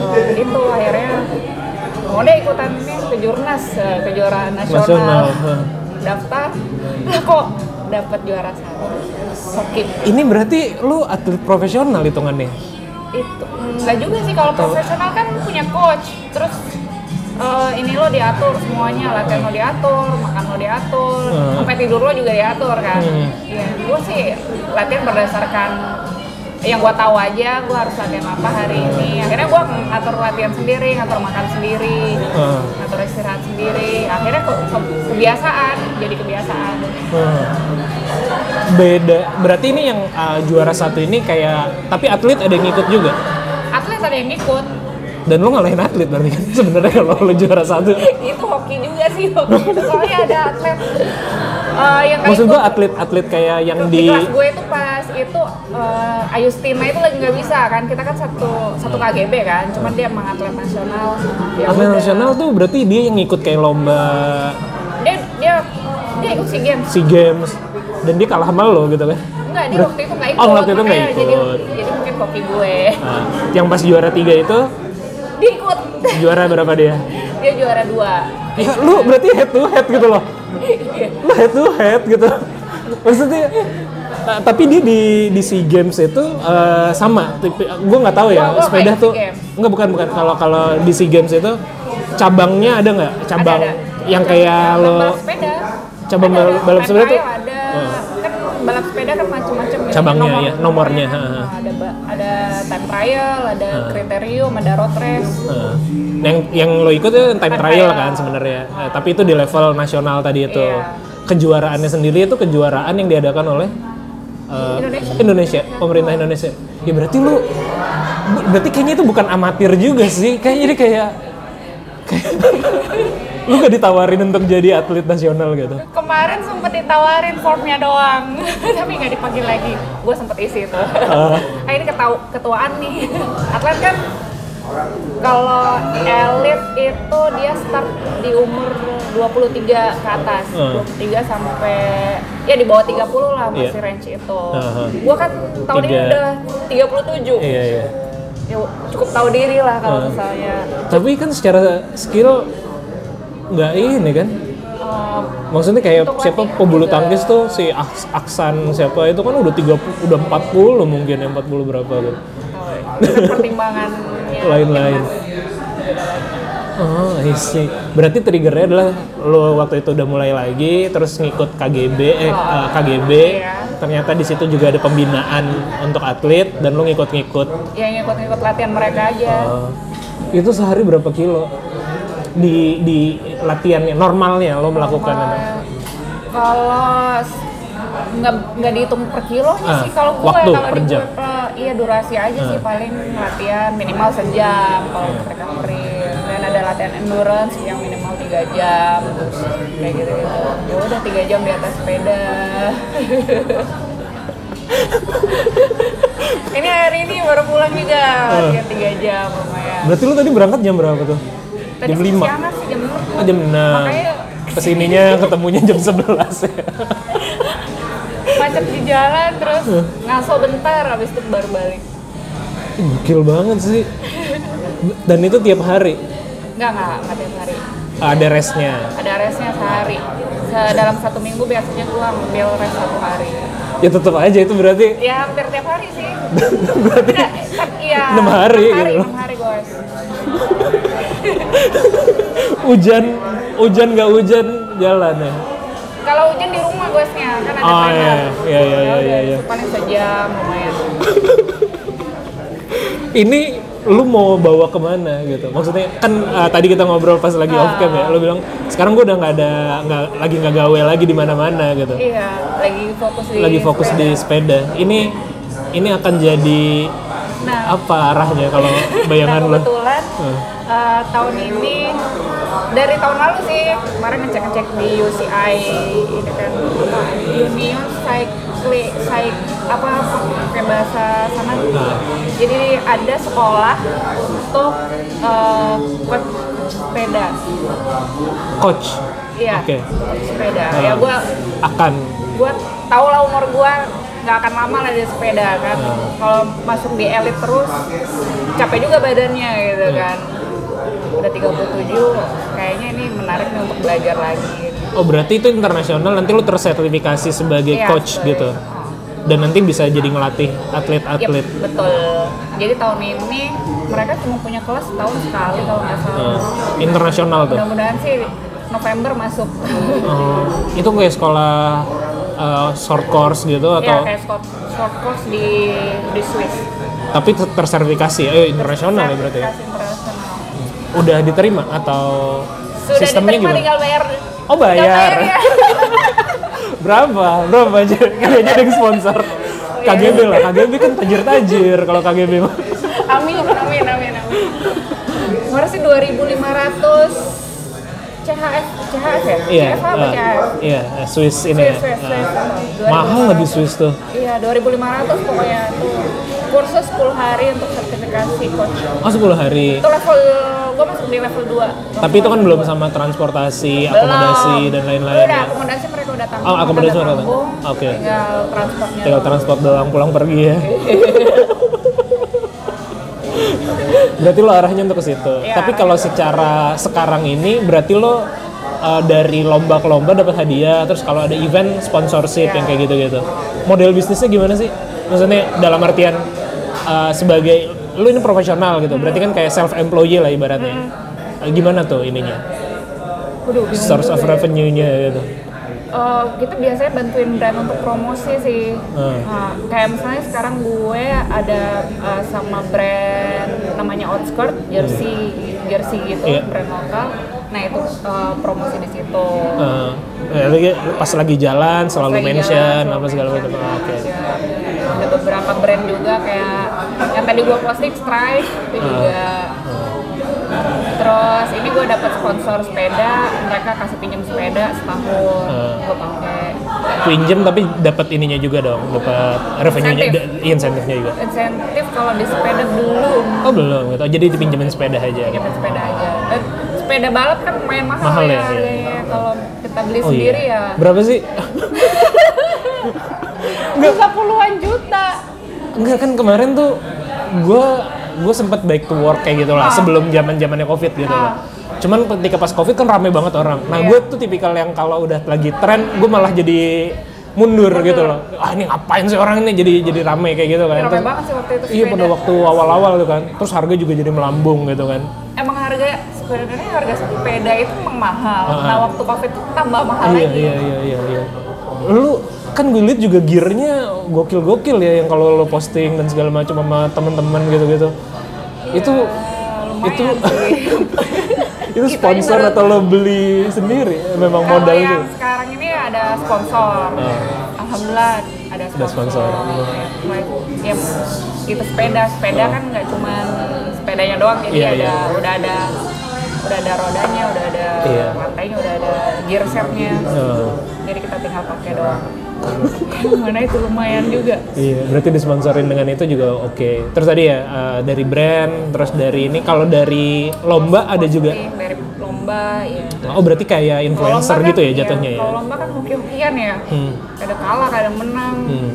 C: eh, itu akhirnya mau deh ikutan ini kejurnas eh, kejuaraan nasional,
B: Nasional, hmm.
C: daftar lah kok dapat juara satu sakit
B: Ini berarti lu atlet profesional hitungannya.
C: itu nggak juga sih kalau profesional kan punya coach terus eh, ini lo diatur semuanya latihan lo diatur makan lo diatur
B: Hmm.
C: sampai tidur lo juga diatur kan
B: Hmm.
C: Iya, gue sih latihan berdasarkan yang gue tahu aja gue harus latihan apa hari
B: Hmm.
C: ini akhirnya gue ngatur latihan sendiri ngatur makan sendiri
B: Hmm.
C: ngatur istirahat sendiri akhirnya ke- ke- kebiasaan jadi kebiasaan
B: Eh, Beda. Berarti ini yang eh, juara satu ini kayak tapi atlet ada yang ikut juga.
C: atlet ada yang ikut
B: Dan lu ngalahin atlet berarti kan sebenarnya kalau lu juara satu.
C: itu hoki juga sih hoki soalnya ada atlet eh, yang kayak
B: Maksud gua atlet-atlet kayak yang
C: di
B: di
C: kelas gue itu pas itu eh, Ayustina itu lagi nggak bisa kan kita kan satu satu KGB kan cuman dia emang atlet nasional Ya
B: atlet
C: udah.
B: nasional tuh berarti dia yang ikut kayak lomba
C: dia dia dia ikut SEA games
B: SEA Games dan dia kalah sama lo gitu kan.
C: enggak dia
B: Ber-
C: waktu itu nggak ikut
B: Oh, waktu itu nggak
C: makanya
B: ikut.
C: jadi jadi mungkin hoki gue
B: Nah, yang pas juara tiga itu
C: dia ikut
B: juara berapa dia?
C: dia juara dua
B: Ya, lu berarti head to head gitu loh.
C: Iya.
B: Lu head to head gitu. Maksudnya ta- tapi dia di di SEA Games itu eh, sama tipe gua nggak tahu ya
C: Gua- gua
B: sepeda
C: kayak
B: tuh
C: SEA Games.
B: nggak bukan bukan kalau kalau di SEA Games itu cabangnya ada nggak cabang
C: Ada, ada.
B: yang kayak lo
C: balap sepeda
B: cabang
C: Ada,
B: bal- balap sepeda
C: trial
B: tuh?
C: ada
B: Oh.
C: kan balap sepeda kan macam-macam ya,
B: Cabangnya,
C: nomor-
B: ya, nomornya,
C: kan.
B: ha, ha.
C: ada ba- ada time trial ada kriterium ada road race
B: eh, yang yang lo ikut itu time,
C: Time
B: trial,
C: trial.
B: kan sebenarnya Eh, tapi itu di level nasional tadi itu
C: Iya.
B: kejuaraannya sendiri itu kejuaraan yang diadakan oleh eh,
C: Indonesia.
B: Indonesia pemerintah Indonesia ya berarti lu bu- berarti kayaknya itu bukan amatir juga sih kayaknya jadi kayak kayak- lu gak ditawarin untuk jadi atlet nasional gitu
C: kemarin sempet ditawarin formnya doang tapi nggak dipanggil lagi gue sempet isi itu ah ini ketau ketuaan nih atlet kan Kalau elit itu dia start di umur 23 ke atas,
B: Hmm.
C: 23 sampai ya di bawah 30 lah masih
B: Iya.
C: range itu.
B: Aha.
C: Gua kan tahun ini
B: Tiga.
C: udah
B: Iya
C: 37.
B: iya.
C: Ya cukup tahu diri lah
B: Hmm.
C: kalau misalnya
B: Tapi kan secara skill nggak ini kan?
C: eh,
B: Maksudnya kayak
C: Untuk Iya.
B: siapa
C: latihan
B: pebulu
C: juga.
B: tangkis tuh si Aks- Aksan siapa itu kan udah 30 udah 40 mungkin ya, 40 berapa gitu.
C: pertimbangannya
B: Lain-lain. Oh, I see. Berarti triggernya adalah lo waktu itu udah mulai lagi, terus ngikut KGB, eh, eh, KGB.
C: Iya.
B: Ternyata di situ juga ada pembinaan untuk atlet dan lo ngikut-ngikut.
C: ya ngikut-ngikut latihan mereka aja
B: Eh, itu sehari berapa kilo? Di di latihannya normalnya lo melakukan
C: Kalau-
B: apa?
C: kalau s- nggak nggak dihitung per kilonya
B: Ah,
C: sih kalau gue
B: waktu,
C: kalau
B: per
C: di
B: jam. Ah.
C: gue per- iya durasi aja sih paling latihan minimal sejam kalau recovery dan ada latihan endurance yang minimal tiga jam kayak gitu gitu ya udah tiga jam di atas sepeda ini hari ini baru pulang juga
B: Ah.
C: latihan tiga jam lumayan
B: Berarti lo tadi berangkat jam berapa tuh?
C: Tadi
B: jam 5?
C: siangan sih jam 6.
B: jam 6.
C: Makanya
B: Kesininya ketemunya jam 11 ya.
C: macet di jalan terus ngaso bentar habis itu baru balik.
B: Ih, Gokil banget sih. Dan itu tiap hari
C: Enggak enggak, enggak tiap hari.
B: ada resnya.
C: Ada resnya sehari. Se- Dalam satu minggu biasanya gua ngambil res satu hari.
B: Ya tetap aja itu berarti
C: Ya hampir tiap hari sih. Berarti iya.
B: enam hari
C: enam
B: gitu loh.
C: enam hari guys.
B: hujan hujan nggak hujan jalan ya.
C: Kalau hujan di rumah guysnya kan ada
B: Ah,
C: timer.
B: iya, iya, iya, iya, iya.
C: Itu paling sejam lumayan.
B: Ini lu mau bawa kemana gitu? Maksudnya kan eh, tadi kita ngobrol pas lagi off cam ya, lu bilang sekarang gua udah nggak ada nggak lagi nggak gawe lagi di mana-mana gitu.
C: Iya, lagi fokus di
B: Lagi fokus
C: sepeda.
B: di sepeda. Ini ini akan jadi
C: Nah,
B: apa arahnya kalau bayangan
C: nah,
B: lo?
C: kebetulan
B: Hmm.
C: eh, tahun ini dari tahun lalu sih kemarin ngecek-ngecek di UCI ini kan apa, Union Cycle Cyc apa pakai bahasa sana jadi ada sekolah untuk eh, buat sepeda
B: Coach
C: iya
B: Oke.
C: sepeda
B: Hmm.
C: ya gua
B: akan
C: gue tau lah umur gue nggak akan lama lah di sepeda kan
B: Iya.
C: kalau masuk di elit terus capek juga badannya gitu
B: Iya.
C: kan udah 37 kayaknya ini menarik nih untuk belajar lagi
B: Oh berarti itu internasional nanti lu tersertifikasi sebagai
C: Iya,
B: coach
C: sebagai-
B: gitu.
C: oh.
B: Dan nanti bisa jadi ngelatih
C: Yep,
B: atlet-atlet.
C: Iya, betul jadi tahun ini mereka cuma punya kelas tahun sekali kalau nggak salah
B: Eh, internasional tuh.
C: mudah-mudahan sih November masuk
B: Oh, itu kayak sekolah eh, short course gitu
C: ya
B: atau
C: kayak short, short course di di Swiss
B: tapi ter- tersertifikasi eh internasional ya berarti. ya?
C: Sertifikasi internasional.
B: Udah diterima atau
C: sudah
B: sistemnya gimana?
C: diterima tinggal bayar
B: Oh, bayar.
C: Tinggal bayar ya.
B: Berapa? Berapa aja? Kalian ada yang sponsor.
C: Iya,
B: KGB lah, KGB kan tajir-tajir kalau KGB mah.
C: amin amin amin amin kemarin sih 2500 CHF CHF ya
B: Iya.
C: CHF apa
B: eh,
C: CHF
B: Iya, eh, Swiss ini. ya.
C: Swiss, Swiss, Swiss.
B: Eh,
C: Dua ribu
B: Mahal
C: lima
B: lagi
C: ratus.
B: Swiss tuh.
C: iya 2500 pokoknya tuh kursus 10 hari untuk sertifikasi coach
B: Oh 10 hari.
C: itu level gue masuk di level 2
B: Tapi itu kan belum sama transportasi, akomodasi dan lain-lain.
C: udah
B: ya.
C: akomodasi mereka udah tanggung
B: Oh, akomodasi
C: mereka udah
B: mereka tanggung.
C: tanggung,
B: Oke.
C: tinggal transportnya
B: Tinggal transport doang pulang pergi ya. berarti lo arahnya untuk ke situ.
C: Iya.
B: Tapi kalau secara sekarang ini berarti lo uh, dari lomba ke lomba dapat hadiah, terus kalau ada event sponsorship
C: Iya.
B: yang kayak gitu-gitu. Model bisnisnya gimana sih? Maksudnya dalam artian uh, sebagai lo ini profesional gitu. Berarti kan
C: Hmm.
B: kayak self employee lah ibaratnya. Uh, Gimana tuh ininya?
C: Waduh, bingung
B: Source of
C: juga ya.
B: revenue-nya gitu.
C: Eh, kita biasanya bantuin brand untuk promosi sih.
B: Hmm.
C: Nah, kayak misalnya sekarang gue ada eh, sama brand namanya Outskirt, jersey jersey gitu,
B: Iya.
C: brand lokal. Nah itu eh, promosi di situ.
B: Uh, ya, lagi- pas lagi jalan selalu
C: Lagi
B: mention
C: jalan,
B: apa segala macam. Ah,
C: mention,
B: Oke.
C: mention. Ada
B: Hmm.
C: beberapa brand juga kayak yang tadi gue posting Stripe itu juga. Terus ini gue dapet sponsor sepeda, mereka kasih pinjam sepeda setahun,
B: Eh.
C: gue pakai.
B: Pinjem tapi dapat ininya juga dong, dapat revenue-nya,
C: Insentif.
B: da- insentifnya juga.
C: Insentif kalau di sepeda belum,
B: Oh belum gitu. Jadi dipinjemin sepeda aja. gitu.
C: pinjam sepeda aja. Dan sepeda balap kan lumayan mahal,
B: Mahal ya,
C: ya,
B: iya. Oh,
C: harganya. Kalau kita beli sendiri ya,
B: Berapa sih?
C: bisa puluhan juta.
B: Enggak kan kemarin tuh gue gue sempat back to work kayak gitu lah
C: Ah.
B: sebelum zaman zamannya covid gitu lah. Cuman ketika pas covid kan rame banget orang.
C: Iya.
B: Nah gue tuh tipikal yang kalau udah lagi tren gue malah jadi mundur gitu loh. Ah ini ngapain sih orang ini jadi jadi rame kayak gitu kan.
C: Rame
B: Terus-
C: banget sih waktu itu
B: Iya
C: sepeda.
B: pada waktu awal-awal tuh kan. Terus harga juga jadi melambung gitu kan.
C: Emang harga sebenarnya harga sepeda itu memang mahal.
B: Ah, ah.
C: Nah waktu covid itu tambah mahal
B: Iya
C: lagi. Eh,
B: iya iya iya iya. Lu kan gue liat juga gearnya gokil-gokil ya yang kalau lo posting dan segala macam sama teman-teman gitu-gitu. Itu
C: Iya.
B: itu itu
C: Kita
B: sponsor
C: ini baru-
B: atau lo beli sendiri memang
C: Kalau
B: modal itu.
C: yang sekarang ini ada sponsor.
B: Ah.
C: Alhamdulillah ada sponsor.
B: sponsor.
C: Ya, gitu sepeda, sepeda kan nggak cuma sepedanya doang, jadi
B: Iya,
C: ada
B: iya.
C: udah ada udah ada rodanya, udah ada
B: Iya.
C: lantainya, udah ada gear setnya.
B: Nah,
C: Jadi kita tinggal pakai doang. Mana itu lumayan juga.
B: iya, berarti disponsorin dengan itu juga oke. Terus tadi ya eh, dari brand, terus dari ini kalau dari lomba ada juga.
C: Ini Dari Iya, lomba, ya.
B: Oh, berarti kayak influencer gitu ya jatuhnya ya.
C: kan Kalau lomba kan hoki-hokian ya.
B: Hmm.
C: Kadang kalah, kadang menang.
B: Hmm.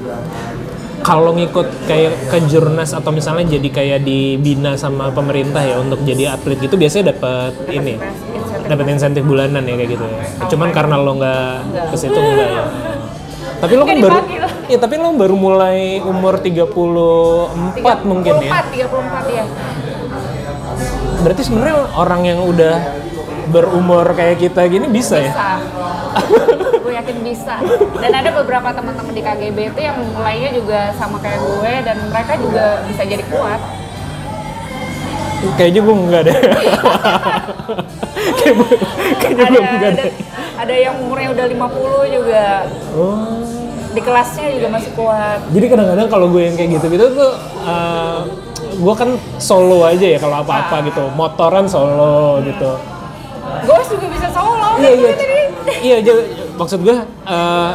B: Kalau ngikut kayak ke jurnas atau misalnya jadi kayak dibina sama pemerintah ya untuk jadi atlet gitu biasanya dapat ini
C: Insentif
B: dapat insentif bulanan ya kayak gitu ya. Cuman karena lo nggak ke situ enggak ya. Tapi lo kan
C: Nggak
B: baru
C: dipanggil.
B: ya tapi lo baru mulai umur 34 mungkin ya.
C: 34, 34 ya.
B: Berarti sebenarnya orang yang udah berumur kayak kita gini bisa ya.
C: Bisa. gue yakin bisa. Dan ada beberapa teman-teman di KGB itu yang mulainya juga sama kayak gue dan mereka juga bisa jadi kuat.
B: Kayaknya gue enggak deh. Kayak gue- Kayaknya
C: Ada
B: gue enggak
C: ada,
B: deh.
C: ada yang umurnya udah 50 juga
B: Oh.
C: di kelasnya juga masih kuat.
B: Jadi kadang-kadang kalau gue yang kayak gitu-gitu tuh eh, gue kan solo aja ya kalau apa-apa gitu, motoran solo gitu.
C: Gue juga bisa solo.
B: Iya iya.
C: kan tadi.
B: Iya ja- maksud gue eh,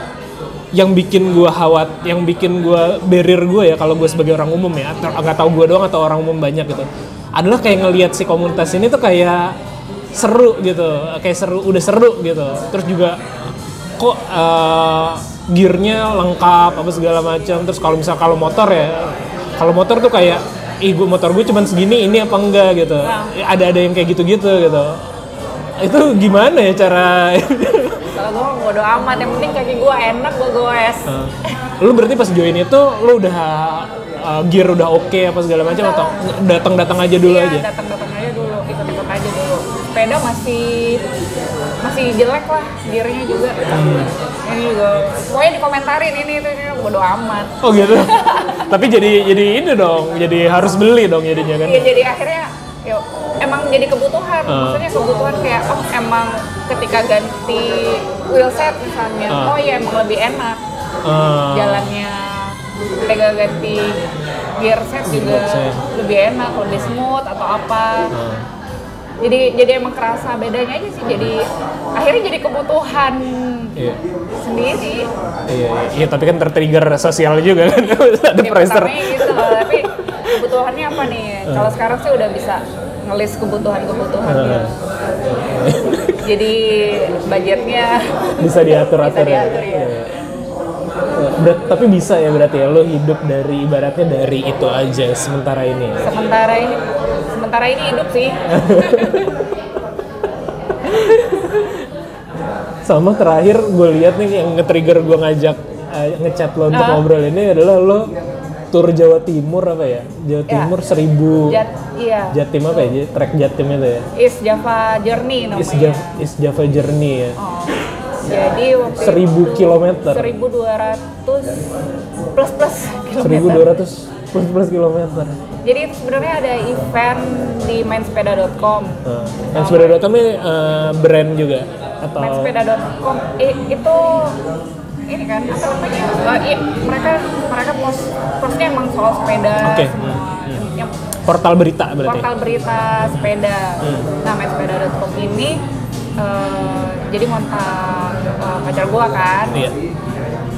B: yang bikin gue khawat, yang bikin gue barrier gue ya kalau gue sebagai orang umum ya, atau nggak tahu gue doang atau orang umum banyak gitu, adalah kayak ngelihat si komunitas ini tuh kayak seru gitu, kayak seru udah seru gitu. Terus juga kok eh, gearnya lengkap apa segala macam. Terus kalau misal kalau motor ya, kalau motor tuh kayak ih gue motor gue cuman segini ini apa enggak gitu. Ada ada yang kayak gitu-gitu gitu itu gimana ya cara
C: Kalau gue mah bodo amat, yang penting kaki gue enak gue goes.
B: lu berarti pas join itu lu udah uh, gear udah oke apa segala macam atau datang datang aja dulu
C: Iya,
B: aja
C: datang-datang aja dulu, ikut-ikut aja dulu. Sepeda masih masih jelek lah, gearnya juga. Ini juga, pokoknya dikomentarin ini itu ini bodo amat.
B: oh gitu tapi jadi jadi ini dong jadi harus beli dong jadinya kan
C: Iya, jadi akhirnya ya emang jadi kebutuhan.
B: Ah.
C: Maksudnya kebutuhan kayak oh emang ketika ganti wheelset misalnya,
B: Ah.
C: oh iya emang lebih enak
B: Ah,
C: jalannya. Ketika ganti gear set juga
B: set.
C: lebih enak, lebih smooth atau apa.
B: Hmm.
C: jadi jadi emang kerasa bedanya aja sih jadi akhirnya jadi kebutuhan
B: iya
C: sendiri
B: iya iya. Iya, tapi kan tertrigger sosial juga kan ada
C: Ya,
B: pressure
C: pertamanya gitu loh tapi kebutuhannya apa nih
B: Hmm.
C: kalau sekarang sih udah bisa ngelis kebutuhan kebutuhannya
B: Ah, Hmm.
C: jadi budgetnya
B: bisa diatur atur
C: Bisa
B: ya.
C: diatur, ya.
B: Iya. Ber- tapi bisa ya berarti ya lo hidup dari ibaratnya dari itu aja sementara ini ya.
C: sementara ini sementara ini hidup sih
B: sama terakhir gue lihat nih yang nge-trigger gue ngajak eh, ngechat lo untuk
C: Ah.
B: ngobrol ini adalah lo tur Jawa Timur apa ya Jawa
C: Ya.
B: Timur seribu
C: Jat, iya
B: Jatim apa ya J- trek Jatim itu ya
C: is Java Journey namanya
B: East Java, East Java Journey ya
C: Oh. jadi waktu itu
B: seribu kilometer
C: 1200 plus plus
B: seribu
C: kilometer
B: dua ratus plus plus kilometer
C: Jadi itu sebenarnya ada event di mainsepeda.com.
B: nah, yang sebenarnya datangnya eh, brand juga atau
C: Mainsepeda.com i- itu ini kan apa namanya? Eh, i- mereka mereka post postnya emang soal sepeda
B: Oke,
C: semua.
B: hmm,
C: Yang
B: Portal berita berarti.
C: portal berita sepeda.
B: Hmm.
C: Nah, main sepeda.com ini eh, jadi ngontak eh, pacar gua kan.
B: Iya.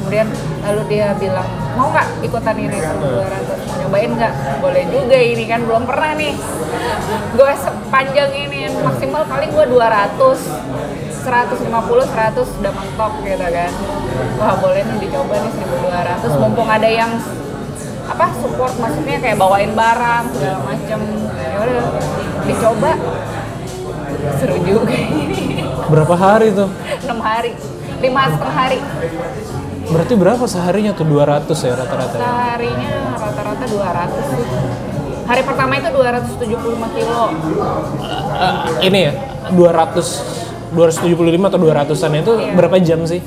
C: Kemudian lalu dia bilang, "Mau nggak ikutan ini kejuaraan? Mau nyobain nggak? Boleh juga ini kan belum pernah nih. Gue sepanjang ini maksimal paling gua 200 150, 100 udah mentok gitu kan Wah boleh nih dicoba nih 1200 Mumpung ada yang apa support maksudnya kayak bawain barang segala macam ya udah dicoba seru juga ini
B: Berapa hari tuh?
C: enam hari lima setengah hari
B: Berarti berapa seharinya tuh 200 ya rata-rata. ya?
C: Nah, seharinya rata-rata 200 sih hari pertama itu 275 kilo
B: Eh, ini ya 200 275 atau 200-an itu
C: Iya.
B: berapa jam sih?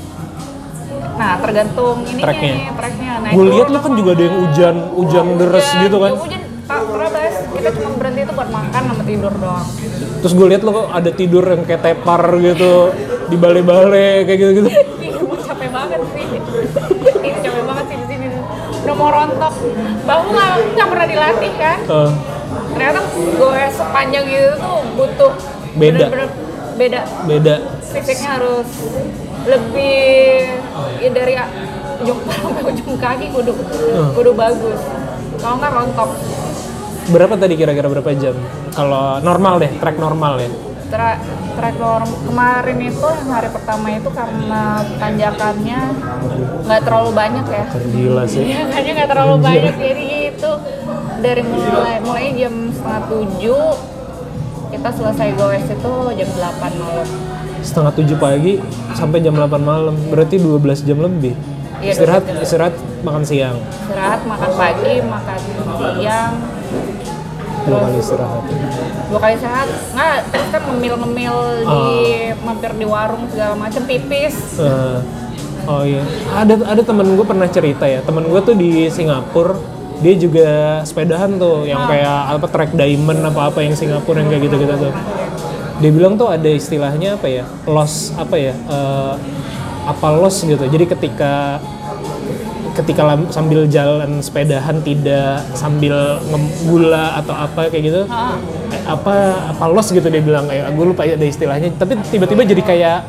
C: nah tergantung ini
B: Tracknya.
C: tracknya nah
B: Gue
C: itu
B: lihat lu kan juga ada yang hujan hujan deres
C: Iya, hujan,
B: gitu kan.
C: hujan tak terabas kita cuma berhenti itu buat makan sama tidur doang
B: Terus gue lihat lu kok ada tidur yang kayak tepar gitu di balai-balai kayak gitu-gitu.
C: Ih, gua capek banget sih. Ih, capek banget sih di sini. Udah mau rontok. Bahu nggak nggak pernah dilatih kan?
B: Eh,
C: Ternyata gue sepanjang itu tuh butuh
B: Beda.
C: bener-bener beda.
B: beda.
C: Fisiknya harus lebih ya dari a- ujung kepala sampai ujung kaki kudu kudu bagus. Kalau nggak rontok.
B: Berapa tadi kira-kira berapa jam? Kalau normal deh, track normal ya.
C: Tra track norm kemarin itu yang hari pertama itu karena tanjakannya nggak terlalu banyak ya.
B: Gila sih.
C: Iya, kayaknya nggak terlalu banyak jadi itu dari mulai mulai jam setengah tujuh kita selesai goes itu jam 8 malam.
B: Setengah tujuh pagi sampai jam 8 malam. Berarti 12 jam lebih.
C: Iya,
B: istirahat
C: 12 jam.
B: istirahat makan siang.
C: Istirahat, makan pagi, makan siang,
B: Dua kali istirahat.
C: dua kali sehat. Nggak, terus kan ngemil-ngemil di
B: Ah.
C: mampir di warung segala macam pipis.
B: Eh, oh iya, ada ada temen gue pernah cerita ya. Temen gue tuh di Singapura, dia juga sepedahan tuh, yang kayak apa track diamond apa apa yang Singapura yang kayak gitu gitu tuh. Dia bilang tuh ada istilahnya apa ya, loss apa ya, eh, apa loss gitu. Jadi ketika ketika lam- sambil jalan sepedahan tidak sambil ngegula atau apa kayak gitu eh, apa apa loss gitu dia bilang kayak gue lupa ada istilahnya tapi tiba-tiba jadi kayak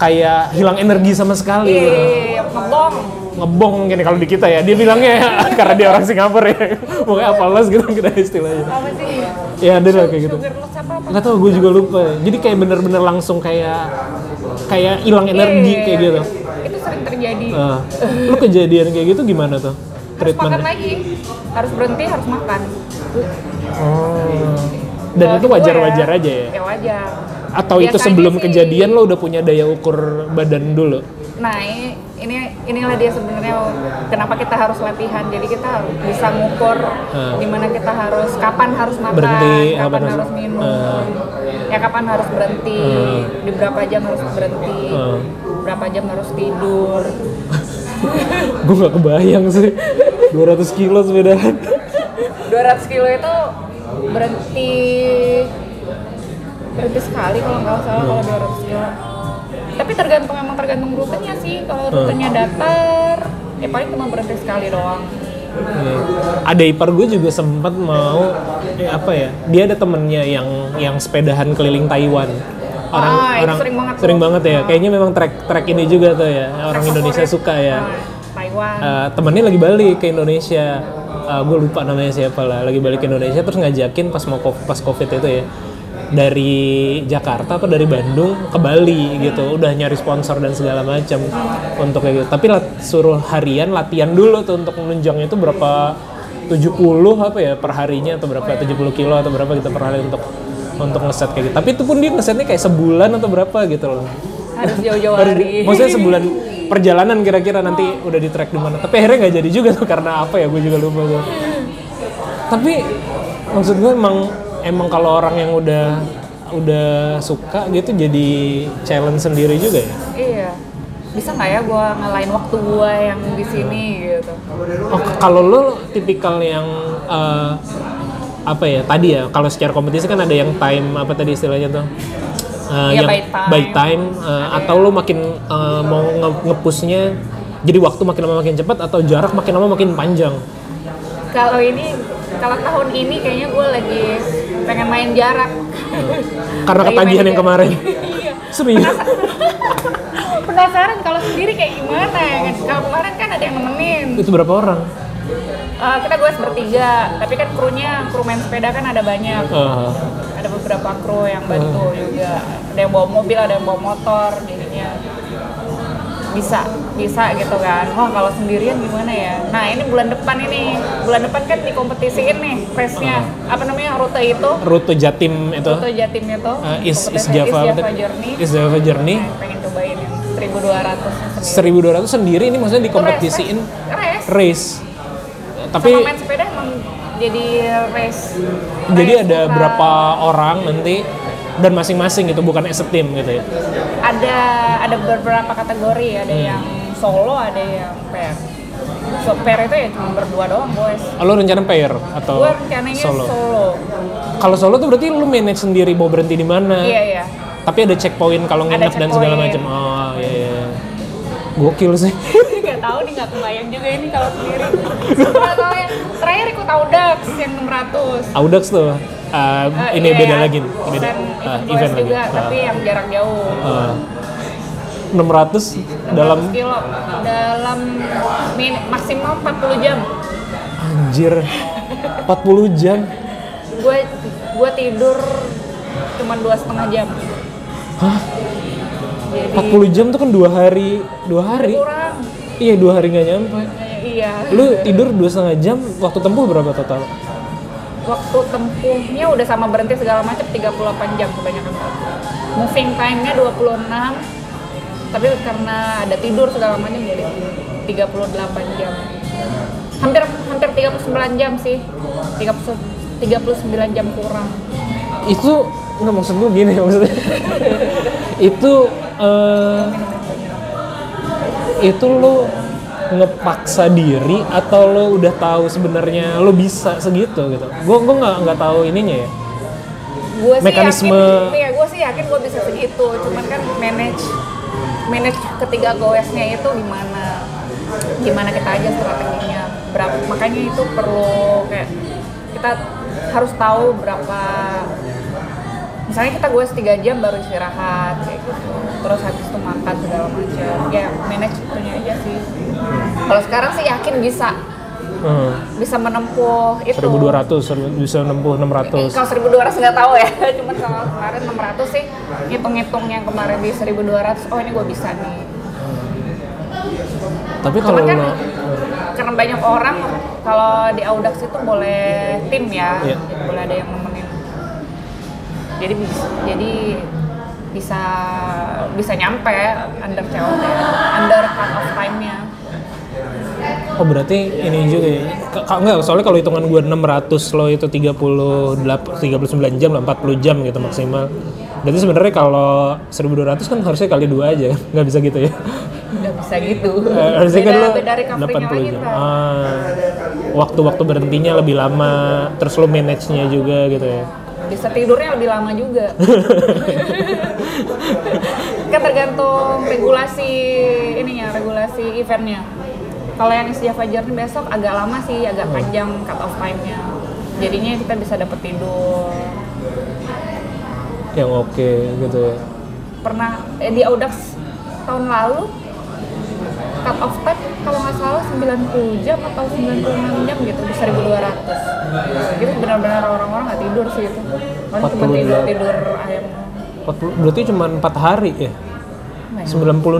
B: kayak hilang energi sama sekali gitu.
C: Iya, ngebong.
B: ngebong mungkin kalau di kita ya dia bilangnya karena dia orang Singapura ya pokoknya apa loss gitu kita istilahnya
C: Apa sih?
B: ya ada lah kayak gitu
C: Sugar loss apa apa?
B: nggak tahu gue juga lupa jadi kayak bener-bener langsung kayak kayak hilang energi
C: Iya,
B: kayak gitu
C: Itu sering terjadi.
B: Nah, lu kejadian kayak gitu gimana tuh
C: Harus makan
B: treatment
C: lagi. Harus berhenti, harus makan.
B: oh. dan
C: Bagi
B: itu
C: gua
B: wajar-wajar aja ya
C: Ya wajar.
B: atau itu
C: Biasanya
B: sebelum
C: sih-
B: kejadian lo udah punya daya ukur badan dulu
C: Nah, i- ini inilah dia sebenarnya kenapa kita harus latihan. Jadi kita harus bisa ngukur
B: Hmm.
C: di mana kita harus kapan harus makan,
B: Berhenti,
C: kapan,
B: kapan harus-
C: harus minum.
B: Hmm.
C: Ya kapan harus berhenti,
B: Hmm.
C: di berapa jam harus berhenti,
B: Hmm.
C: berapa jam harus tidur.
B: gue nggak kebayang sih 200 kilo sepedaan
C: 200 kilo itu berhenti berhenti sekali kalau nggak salah kalau
B: Hmm.
C: 200 kilo tapi tergantung emang tergantung rutenya sih kalau
B: Hmm.
C: rutenya datar ya paling cuma berhenti sekali doang
B: Iya. Ada ipar gue juga sempat mau eh, apa ya? Dia ada temennya yang yang sepedahan keliling Taiwan. Orang
C: Ah, itu
B: orang
C: sering banget tuh.
B: ya. Kayaknya memang trek trek ini juga tuh ya. Orang
C: Nah,
B: Indonesia
C: favorit,
B: suka ya.
C: nah, Taiwan
B: Eh, temennya lagi balik ke Indonesia. Eh, gue lupa namanya siapa lah. Lagi balik ke Indonesia terus ngajakin pas mau ko- pas covid itu ya dari Jakarta apa dari Bandung ke Bali gitu udah nyari sponsor dan segala macam untuk kayak gitu tapi lat- suruh harian latihan dulu tuh untuk menunjang itu berapa 70 apa ya perharinya atau berapa 70 kilo atau berapa gitu per hari untuk untuk ngeset kayak gitu tapi itu pun dia ngesetnya kayak sebulan atau berapa gitu loh
C: harus jauh-jauh
B: Baru
C: hari
B: di- maksudnya sebulan perjalanan kira-kira nanti udah di track di mana. Tapi akhirnya nggak jadi juga tuh karena apa ya? Gue juga lupa tuh. Tapi maksud gue emang emang kalau orang yang udah udah suka gitu jadi challenge sendiri juga ya.
C: iya bisa nggak ya gue ngelain waktu gue yang di sini gitu
B: Oh, kalau lo tipikal yang eh, apa ya tadi ya kalau secara kompetisi kan ada yang time apa tadi istilahnya tuh Eh,
C: Iya,
B: yang
C: by time.
B: time, eh, atau lo makin eh, mau nge- ngepushnya jadi waktu makin lama makin cepat atau jarak makin lama makin panjang
C: kalau ini kalau tahun ini kayaknya gue lagi pengen main jarak
B: Karena
C: Lagi main
B: ketagihan yang
C: jarak.
B: kemarin.
C: Iya.
B: Serius.
C: penasaran kalau sendiri kayak gimana ya kan kalau kemarin kan ada yang nemenin
B: Itu berapa orang?
C: Eh, kita gue bertiga tapi kan krunya kru main sepeda kan ada banyak
B: Ah,
C: ada beberapa kru yang bantu
B: Hmm.
C: juga ada yang bawa mobil ada yang bawa motor jadinya bisa bisa gitu kan wah kalau sendirian gimana ya nah ini bulan depan ini bulan depan kan dikompetisiin nih race-nya apa namanya rute itu
B: Hmm. rute Jatim itu.
C: rute Jatim itu
B: Ah, is, is
C: kompetisi
B: Java.
C: East Java Journey
B: Is Java Journey.
C: Nah, pengen cobain yang 1200 sendiri.
B: 1200 sendiri ini maksudnya
C: Itu race,
B: dikompetisiin
C: race, race.
B: race.
C: tapi
B: Tapi
C: main sepeda emang jadi race
B: jadi
C: race
B: ada
C: lokal.
B: berapa orang nanti dan masing-masing gitu bukan as a team gitu ya.
C: ada ada beberapa kategori ada
B: Hmm.
C: yang solo ada yang pair so pair itu ya cuma berdua doang boys
B: Oh, Lo rencana pair atau
C: gue rencananya solo,
B: Oh, solo? Kalau solo tuh berarti lo manage sendiri mau berhenti di mana?
C: iya iya
B: Tapi ada checkpoint kalau
C: Ada
B: nginep dan segala
C: checkpoint.
B: macam. Oh iya iya. Gokil sih.
C: nggak tahu nih nggak kebayang juga ini kalau sendiri Soalnya- soalnya terakhir ikut Audax yang 600
B: Audax tuh. uh,
C: Eh,
B: ini
C: iya
B: beda
C: ya,
B: lagi. Beda.
C: event,
B: Ah,
C: event, boys juga tapi yang jarak jauh
B: Ah, ah. 600 dalam
C: 600 kilo dalam min, maksimal 40 jam
B: anjir 40 jam.
C: gue gue tidur cuma dua setengah jam
B: Hah?
C: jadi
B: 40 jam tuh kan dua hari, dua hari.
C: kurang
B: Iya dua hari nggak nyampe.
C: Eh, iya
B: Lu tidur dua setengah jam, waktu tempuh berapa total?
C: waktu tempuhnya udah sama berhenti segala macam 38 jam kebanyakan moving time-nya 26 tapi karena ada tidur segala macam jadi 38 jam hampir hampir 39 jam sih 30, 39 jam kurang
B: Itu nggak maksud gue gini maksudnya. itu eh, itu lo ngepaksa diri atau lo udah tahu sebenarnya lo bisa segitu gitu. Gue gue nggak nggak tahu ininya ya.
C: gue sih
B: Mekanisme-
C: yakin iya gue sih yakin gue bisa segitu cuman kan manage manage ketiga goesnya itu gimana gimana kita aja strateginya berapa makanya itu perlu kayak kita harus tahu berapa misalnya kita goes tiga jam baru istirahat kayak gitu terus habis itu makan segala macam ya manage itunya aja sih kalau sekarang sih yakin bisa
B: Hmm.
C: bisa menempuh itu
B: 1200 bisa nempuh 600.
C: Eh, kalau 1200 nggak tahu ya, cuma kalau kemarin 600 sih hitung-hitung yang kemarin di 1200, oh ini gue bisa nih.
B: Tapi
C: Cuma
B: kalau
C: kan
B: lo
C: karena banyak orang kalau di Audax itu boleh tim ya,
B: Iya.
C: boleh ada yang nemenin. Jadi bisa, jadi bisa bisa nyampe under COT, under cut off time-nya.
B: Oh berarti ini juga ya. Ka- ka- Enggak, soalnya kalau hitungan gue 600 lo itu 38, 39 jam lah, 40 jam gitu maksimal. Berarti sebenarnya kalau 1200 kan harusnya kali dua aja kan, nggak bisa gitu ya.
C: Udah bisa gitu.
B: Eh, harusnya kan lo
C: beda, beda recovery-nya lagi
B: 80 jam.
C: Bang.
B: Ah, waktu-waktu berhentinya lebih lama, terus lo manage-nya juga gitu ya.
C: bisa tidurnya lebih lama juga kan tergantung regulasi ininya regulasi eventnya kalau yang East Java Journey besok agak lama sih agak panjang cut off time-nya jadinya kita bisa dapat tidur
B: Yang oke gitu ya.
C: pernah eh, di Audax tahun lalu cut off time kalau nggak salah 90 jam atau 96 jam gitu di 1200 itu benar-benar orang-orang nggak tidur sih itu orang cuma
B: 48.
C: tidur tidur ayam
B: 40, berarti cuma 4 hari ya?
C: Nah,
B: 96?
C: 90 kalau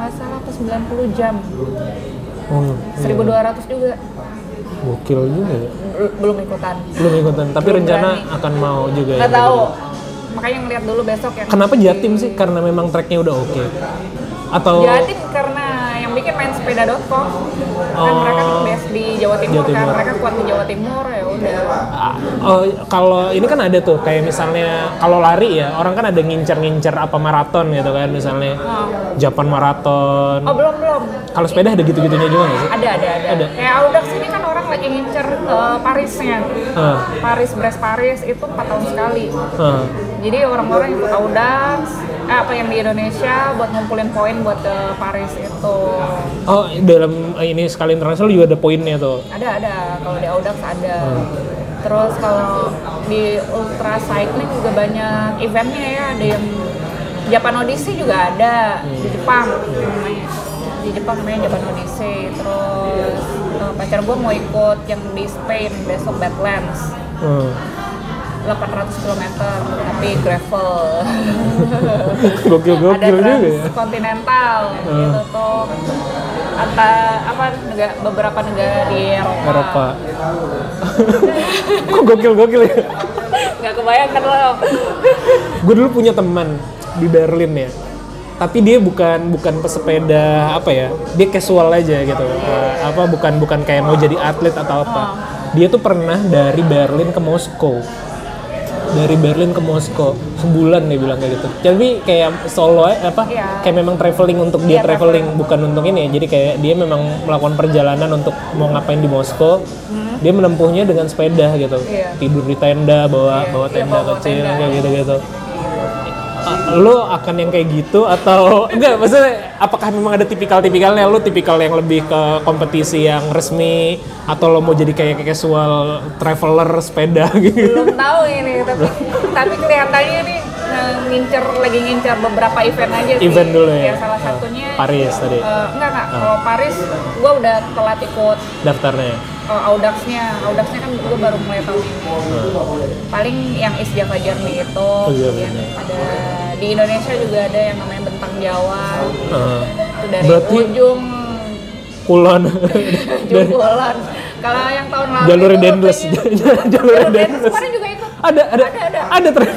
C: nggak salah atau 90 jam
B: Oh, iya.
C: 1200 juga
B: Gokil juga ya.
C: Bel- belum ikutan
B: Belum ikutan, tapi
C: Belum
B: rencana
C: berani.
B: akan mau juga ya.
C: nggak tahu makanya ngeliat dulu besok ya. yang
B: Kenapa Jatim sih? Oh. Karena memang tracknya udah oke. Atau
C: Jatim karena yang bikin main sepeda.com kan
B: Oh.
C: mereka kan base di Jawa Timur,
B: Jawa Timur.
C: kan mereka kuat di Jawa Timur ya udah
B: Ah, oh, kalau ini kan ada tuh kayak misalnya kalau lari ya orang kan ada ngincer-ngincer apa maraton gitu kan misalnya Japan maraton.
C: Hmm. oh belum belum
B: Kalau sepeda ada gitu-gitunya juga nggak sih?
C: ada ada ada,
B: Ada.
C: kayak Audax ini kan orang lagi ngincer eh, Parisnya
B: Ah,
C: Paris Brest Paris itu 4 tahun sekali
B: ah.
C: Jadi orang-orang ikut Audax, eh, apa yang di Indonesia buat ngumpulin poin buat ke Paris itu
B: Oh, dalam eh, ini skala internasional juga ada poinnya tuh.
C: ada ada kalau di Audax ada terus kalau di ultra cycling juga banyak eventnya ya ada yang Japan Odyssey juga ada di Jepang namanya di Jepang namanya Japan Odyssey terus eh, pacar gue mau ikut yang di Spain besok Badlands
B: Hmm.
C: 800 km tapi gravel
B: Gokil
C: ada
B: gokil juga ya. Ah.
C: transkontinental gitu tuh Anta- apa negara, beberapa negara di Eropa,
B: Eropa. Kok gokil gokil ya?
C: nggak kebayangkan loh
B: Gue dulu punya teman di Berlin ya. Tapi dia bukan bukan pesepeda apa ya? Dia casual aja gitu. Eh, Apa bukan bukan kayak mau jadi atlet atau apa.
C: Oh.
B: Dia tuh pernah dari Berlin ke Moskow. Dari Berlin ke Moskow sebulan dia bilang kayak gitu. Jadi kayak solo eh, apa?
C: Iya.
B: Kayak memang traveling untuk dia
C: Iya,
B: traveling bukan untuk ini ya jadi kayak dia memang melakukan perjalanan untuk mau ngapain di Moskow dia menempuhnya dengan sepeda gitu
C: Hmm. Iya.
B: tidur di tenda bawa
C: Iya,
B: bawa
C: iya,
B: tenda
C: bawa
B: kecil
C: tenda.
B: kayak gitu gitu lo akan yang kayak gitu atau enggak maksudnya apakah memang ada tipikal-tipikalnya lo tipikal yang lebih ke kompetisi yang resmi atau lo mau jadi kayak casual traveler sepeda gitu
C: belum tahu ini tapi tapi kelihatannya ini eh, ngincer lagi ngincer beberapa event aja sih Iya,
B: Event dulu ya?
C: salah
B: Ah,
C: satunya
B: Paris tadi. Ah.
C: eh, enggak enggak kalau Paris gue udah telat ikut
B: daftarnya
C: eh, Audaxnya Audaxnya kan gue baru mulai tahun ini paling yang East Java Journey itu
B: Ah. iya,
C: yang
B: benar.
C: ada di Indonesia juga ada yang namanya Bentang Jawa
B: Heeh.
C: itu dari
B: Berarti-
C: ujung
B: kulon Dan
C: jungkolan kalau yang tahun lalu
B: jalur
C: itu
B: endless
C: rutenya-
B: jalur
C: Jalur Dendles
B: endless
C: kemarin juga ikut
B: ada ada
C: Ada, ada.
B: ada ter-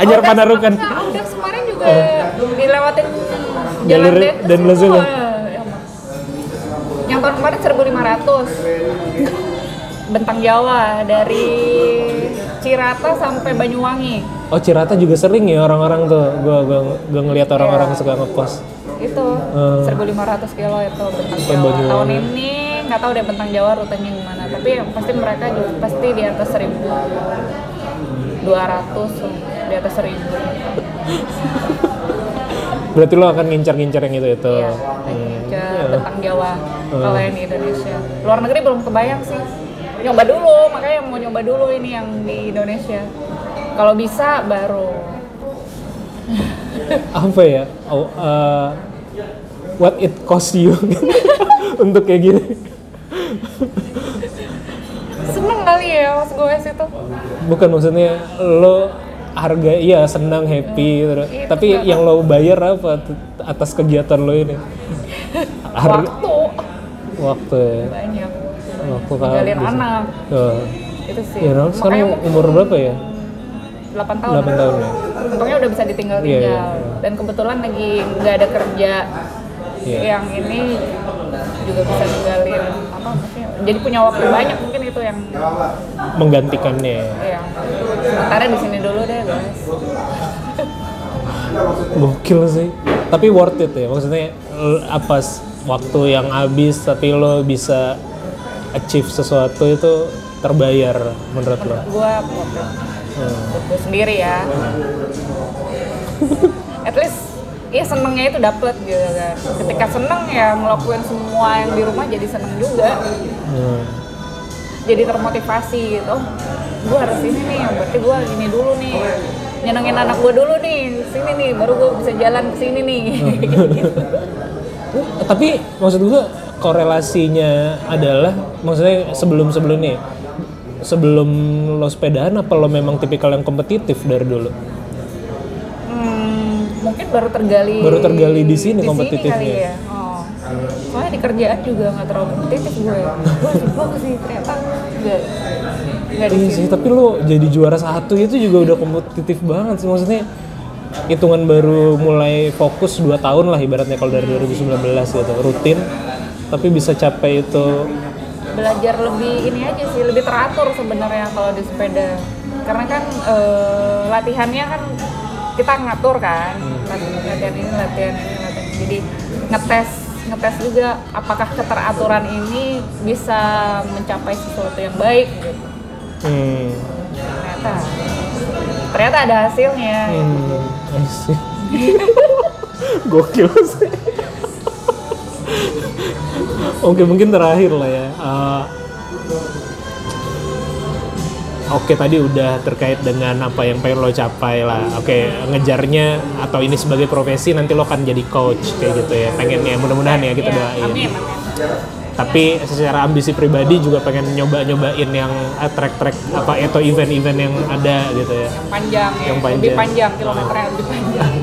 B: ajar
C: Audax-
B: panarukan
C: enggak, Audax kemarin juga dilewatin jalan
B: Jalur Dendles
C: semua.
B: juga.
C: Yang- Yang tahun kemarin 1500. Bentang Jawa dari Cirata sampai Banyuwangi.
B: oh Cirata juga sering ya orang-orang tuh gua gua, gua ngeliat orang-orang
C: Iya.
B: suka ngepost
C: Itu 1500 kilo itu Bentang
B: Sampai
C: Jawa.
B: Eh, Banyuwangi.
C: Tahun ini nggak tahu deh Bentang Jawa rutenya gimana, tapi yang pasti mereka juga pasti di atas 1000. 200 di atas 1000.
B: berarti lo akan ngincar-ngincar yang itu itu Hmm.
C: Iya, ke
B: iya.
C: Bentang Jawa kalau yang di Indonesia. Luar negeri belum kebayang sih. Nyoba dulu, makanya mau nyoba dulu ini yang di Indonesia. Kalau bisa baru.
B: apa ya oh, eh, what it cost you untuk kayak gini
C: Seneng kali ya mas gue situ.
B: bukan maksudnya lo harga iya senang happy gitu. tapi yang lo bayar apa t- atas kegiatan lo ini harga
C: Waktu
B: waktu ya
C: banyak.
B: waktu
C: Jalin
B: habis.
C: anak
B: Tuh.
C: itu sih.
B: Ya, Ronald sekarang
C: Makanya
B: umur berapa ya?
C: 8 tahun.
B: 8 tahun ya.
C: Untungnya udah bisa ditinggal-tinggal.
B: Iya, iya, iya.
C: Dan kebetulan lagi nggak ada kerja
B: Iya.
C: yang ini juga bisa ninggalin apa maksudnya jadi punya waktu banyak mungkin itu yang
B: Menggantikannya. ya.
C: Iya. Sementara di sini dulu deh, guys.
B: Gokil sih. Tapi worth it ya. Maksudnya l- apa s- waktu yang habis tapi lo bisa achieve sesuatu itu terbayar menurut lo. Hmm.
C: Gua foto. Buat gua sendiri ya. At least Iya senengnya itu dapet gitu kan. Ketika seneng ya ngelakuin semua yang di rumah jadi seneng juga.
B: Hmm.
C: Jadi termotivasi gitu. Oh, gue harus ini nih, berarti gue ini dulu nih. Nyenengin anak gue dulu nih, sini nih, baru gue bisa jalan ke sini nih.
B: Eh, Tapi maksud gua korelasinya adalah maksudnya sebelum sebelumnya sebelum lo sepedaan apa lo memang tipikal yang kompetitif dari dulu?
C: Hmm, mungkin baru tergali
B: Baru tergali di sini kompetitifnya.
C: kali ya. Oh. Soalnya di kerjaan juga nggak terlalu kompetitif ya. gue. Gue juga sih ternyata nggak nggak di
B: Iya
C: sini.
B: sih, tapi lo jadi juara satu itu juga udah kompetitif banget sih. Maksudnya hitungan baru mulai fokus 2 tahun lah ibaratnya kalau dari 2019 gitu, rutin. Tapi bisa capai itu
C: Belajar lebih ini aja sih, lebih teratur sebenarnya kalau di sepeda. Karena kan eh, latihannya kan kita ngatur kan,
B: Hmm.
C: Lati- latihan ini, latihan ini, latihan ini. Jadi ngetes ngetes juga apakah keteraturan ini bisa mencapai sesuatu yang baik gitu.
B: hmm,
C: ternyata ternyata ada hasilnya
B: hmm, I see. Gokil sih. Oke mungkin terakhir lah ya. Eh, Oke tadi udah terkait dengan apa yang pengen lo capai lah. Oke ngejarnya atau ini sebagai profesi nanti lo akan jadi coach kayak gitu ya. Pengennya mudah-mudahan ya kita
C: Iya,
B: doain.
C: amin, amin.
B: Tapi secara ambisi pribadi juga pengen nyoba-nyobain yang eh, track-track apa atau event-event yang ada gitu ya.
C: Panjang ya,
B: Yang
C: lebih
B: panjang. Hmm.
C: panjang kilometernya lebih panjang.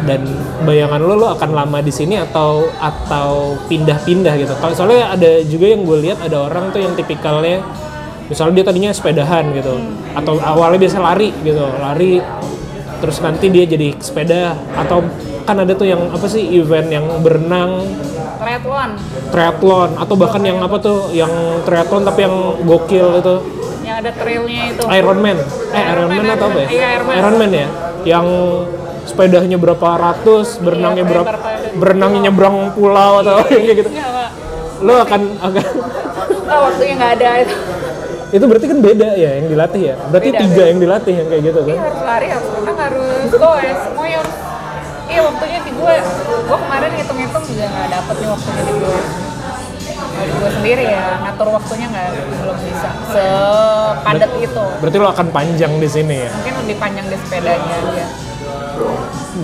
B: dan bayangan lo lo akan lama di sini atau atau pindah-pindah gitu kalau soalnya ada juga yang gue lihat ada orang tuh yang tipikalnya misalnya dia tadinya sepedahan gitu atau awalnya biasa lari gitu lari terus nanti dia jadi sepeda atau kan ada tuh yang apa sih event yang berenang
C: Triathlon
B: triathlon atau bahkan yang apa tuh yang triathlon tapi yang gokil gitu. itu
C: yang ada trailnya itu.
B: Ironman eh Ironman atau apa ya
C: Iya, Ironman.
B: Ironman ya yang sepedanya berapa ratus berenangnya
C: Iya,
B: berapa
C: berapa-
B: berenangnya nyebrang pulau atau kayak gitu
C: Iya, Pak.
B: lo akan akan
C: Oh, waktunya nggak ada itu.
B: itu berarti kan beda ya yang dilatih ya berarti
C: Beda,
B: tiga yang dilatih yang kayak gitu kan
C: Iya, harus lari, harus renang, harus goes, moyos. Iya waktunya di gue, gue kemarin hitung-hitung juga nggak dapet nih waktunya di gue. Dari gue sendiri ya, ngatur waktunya nggak belum bisa sepadat itu.
B: berarti lo akan panjang di sini ya
C: Mungkin lebih panjang di sepedanya aja.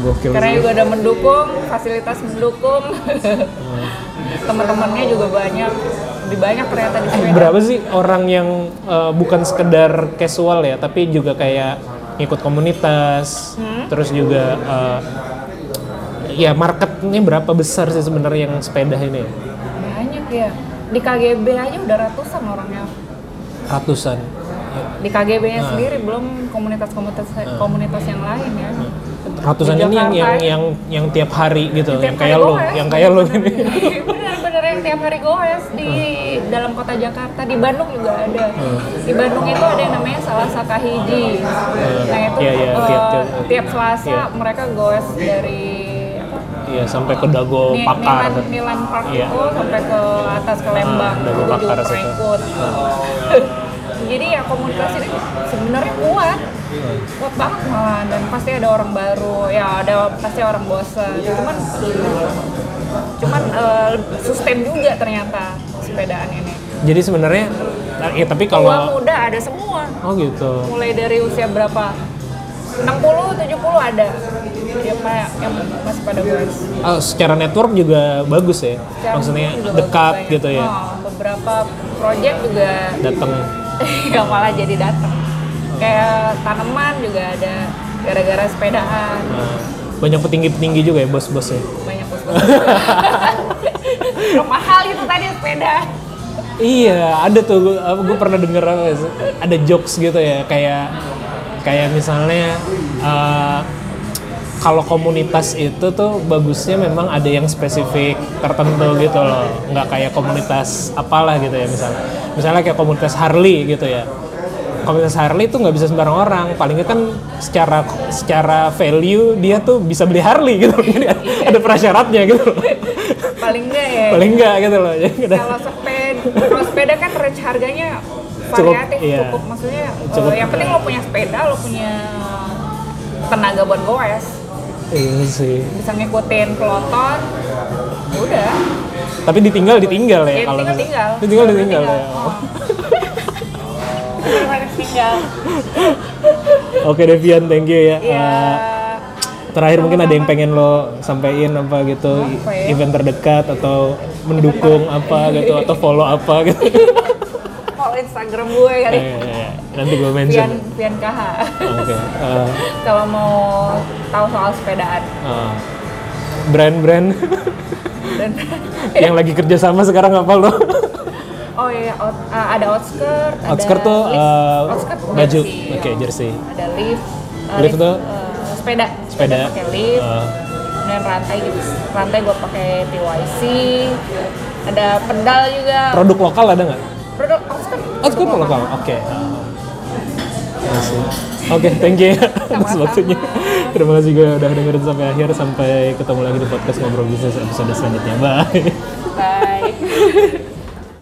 B: gokil
C: Karena
B: sih.
C: juga ada mendukung, fasilitas mendukung. Teman-temannya juga banyak, lebih banyak ternyata di sepeda.
B: berapa sih orang yang eh, bukan sekedar casual ya tapi juga kayak ngikut komunitas
C: Hmm?
B: terus juga eh, ya marketnya berapa besar sih sebenarnya yang sepeda ini ya?
C: Banyak ya. Di KGB aja udah ratusan orangnya.
B: ratusan
C: di KGB-nya
B: Nah.
C: sendiri belum komunitas-komunitas komunitas yang lain ya.
B: Nah, ratusan
C: Di
B: ini yang yang
C: Jakarta,
B: yang yang tiap hari gitu yang
C: tiap
B: kayak
C: hari
B: lo
C: goes.
B: yang kayak lo gini
C: Bener-bener yang tiap hari goes di
B: Nah.
C: dalam kota Jakarta, di Bandung juga ada. Di Bandung itu ada yang namanya Salasaka Hiji. Nah itu
B: Iya, iya,
C: eh, tiap,
B: tiap- tiap-
C: Selasa
B: iya.
C: mereka goes dari apa,
B: iya sampai ke dago
C: Ni-
B: pakar
C: Nilan, Nilan Park
B: Iya.
C: itu sampai ke atas ke Lembang,
B: Dago
C: itu juga
B: Pakar Nah.
C: pernah
B: situ.
C: ikut. Jadi ya komunikasi ini sebenarnya kuat, kuat banget malah dan pasti ada orang baru, ya ada pasti orang bosan. Cuman cuman eh, sustain juga ternyata sepedaan ini.
B: jadi sebenarnya ya tapi
C: Tua
B: kalau
C: muda ada semua,
B: oh gitu
C: mulai dari usia berapa? 60, 70 ada. Siapa yang masih pada boys?
B: Ah, secara network juga bagus ya
C: Sekarang
B: maksudnya
C: juga
B: dekat
C: banyak.
B: gitu ya
C: Oh, beberapa project juga
B: datang
C: ya malah jadi datang. Kayak tanaman juga ada gara-gara sepedaan
B: Nah, banyak petinggi-petinggi juga ya bos-bosnya.
C: banyak bos mahal itu tadi sepeda.
B: Iya, ada tuh. Gue pernah denger apa ya, ada jokes gitu ya, kayak kayak misalnya eh, kalau komunitas itu tuh bagusnya memang ada yang spesifik tertentu gitu loh, nggak kayak komunitas apalah gitu ya misalnya. Misalnya kayak komunitas Harley gitu ya. Komunitas Harley tuh nggak bisa sembarang orang. Paling nggak kan secara secara value dia tuh bisa beli Harley gitu. Jadi ada- ada prasyaratnya gitu. loh.
C: Paling enggak ya.
B: Paling nggak gitu loh. Jadi ada-
C: Kalau sepeda, kalau sepeda kan range harganya
B: Cukup,
C: variatif cukup,
B: iya.
C: maksudnya eh,
B: Cukup.
C: yang penting lo punya sepeda, lo punya tenaga buat goes,
B: Iya sih.
C: bisa ngikutin peloton. Udah,
B: Tapi ditinggal ditinggal ya kalau
C: tinggal tinggal Oh.
B: misalnya. ditinggal ditinggal ya.
C: tinggal
B: Oke Devian, thank you ya.
C: ya
B: Eh, terakhir mungkin ada yang pengen lo sampaiin apa gitu
C: Apa ya?
B: event terdekat atau mendukung apa gitu atau follow apa gitu.
C: follow instagram gue kan, kali
B: Eh, eh, nanti gue
C: Pian
B: mention.
C: Pian KH
B: Oh. Oke. eh,
C: kalau mau tahu soal sepedaan
B: eh, brand-brand
C: dan
B: yang lagi kerja sama sekarang apa lo?
C: oh iya out- eh, ada outskirt ada
B: Outskirt tuh
C: lift.
B: eh,
C: Outskirt
B: baju,
C: jersey,
B: oke
C: ya.
B: jersey,
C: ada lift eh,
B: Lift tuh?
C: eh, sepeda
B: sepeda.
C: pakai lift
B: Eh,
C: dan rantai gitu rantai gue pakai TYC ada pedal juga
B: produk lokal ada nggak?
C: produk outskirt
B: Oh, cukup lokal. Oke. Iya sih. Oke, thank you atas waktunya. Terima kasih gue udah dengerin sampai akhir. Sampai ketemu lagi di podcast Ngobrol Bisnis episode selanjutnya. Bye.
C: bye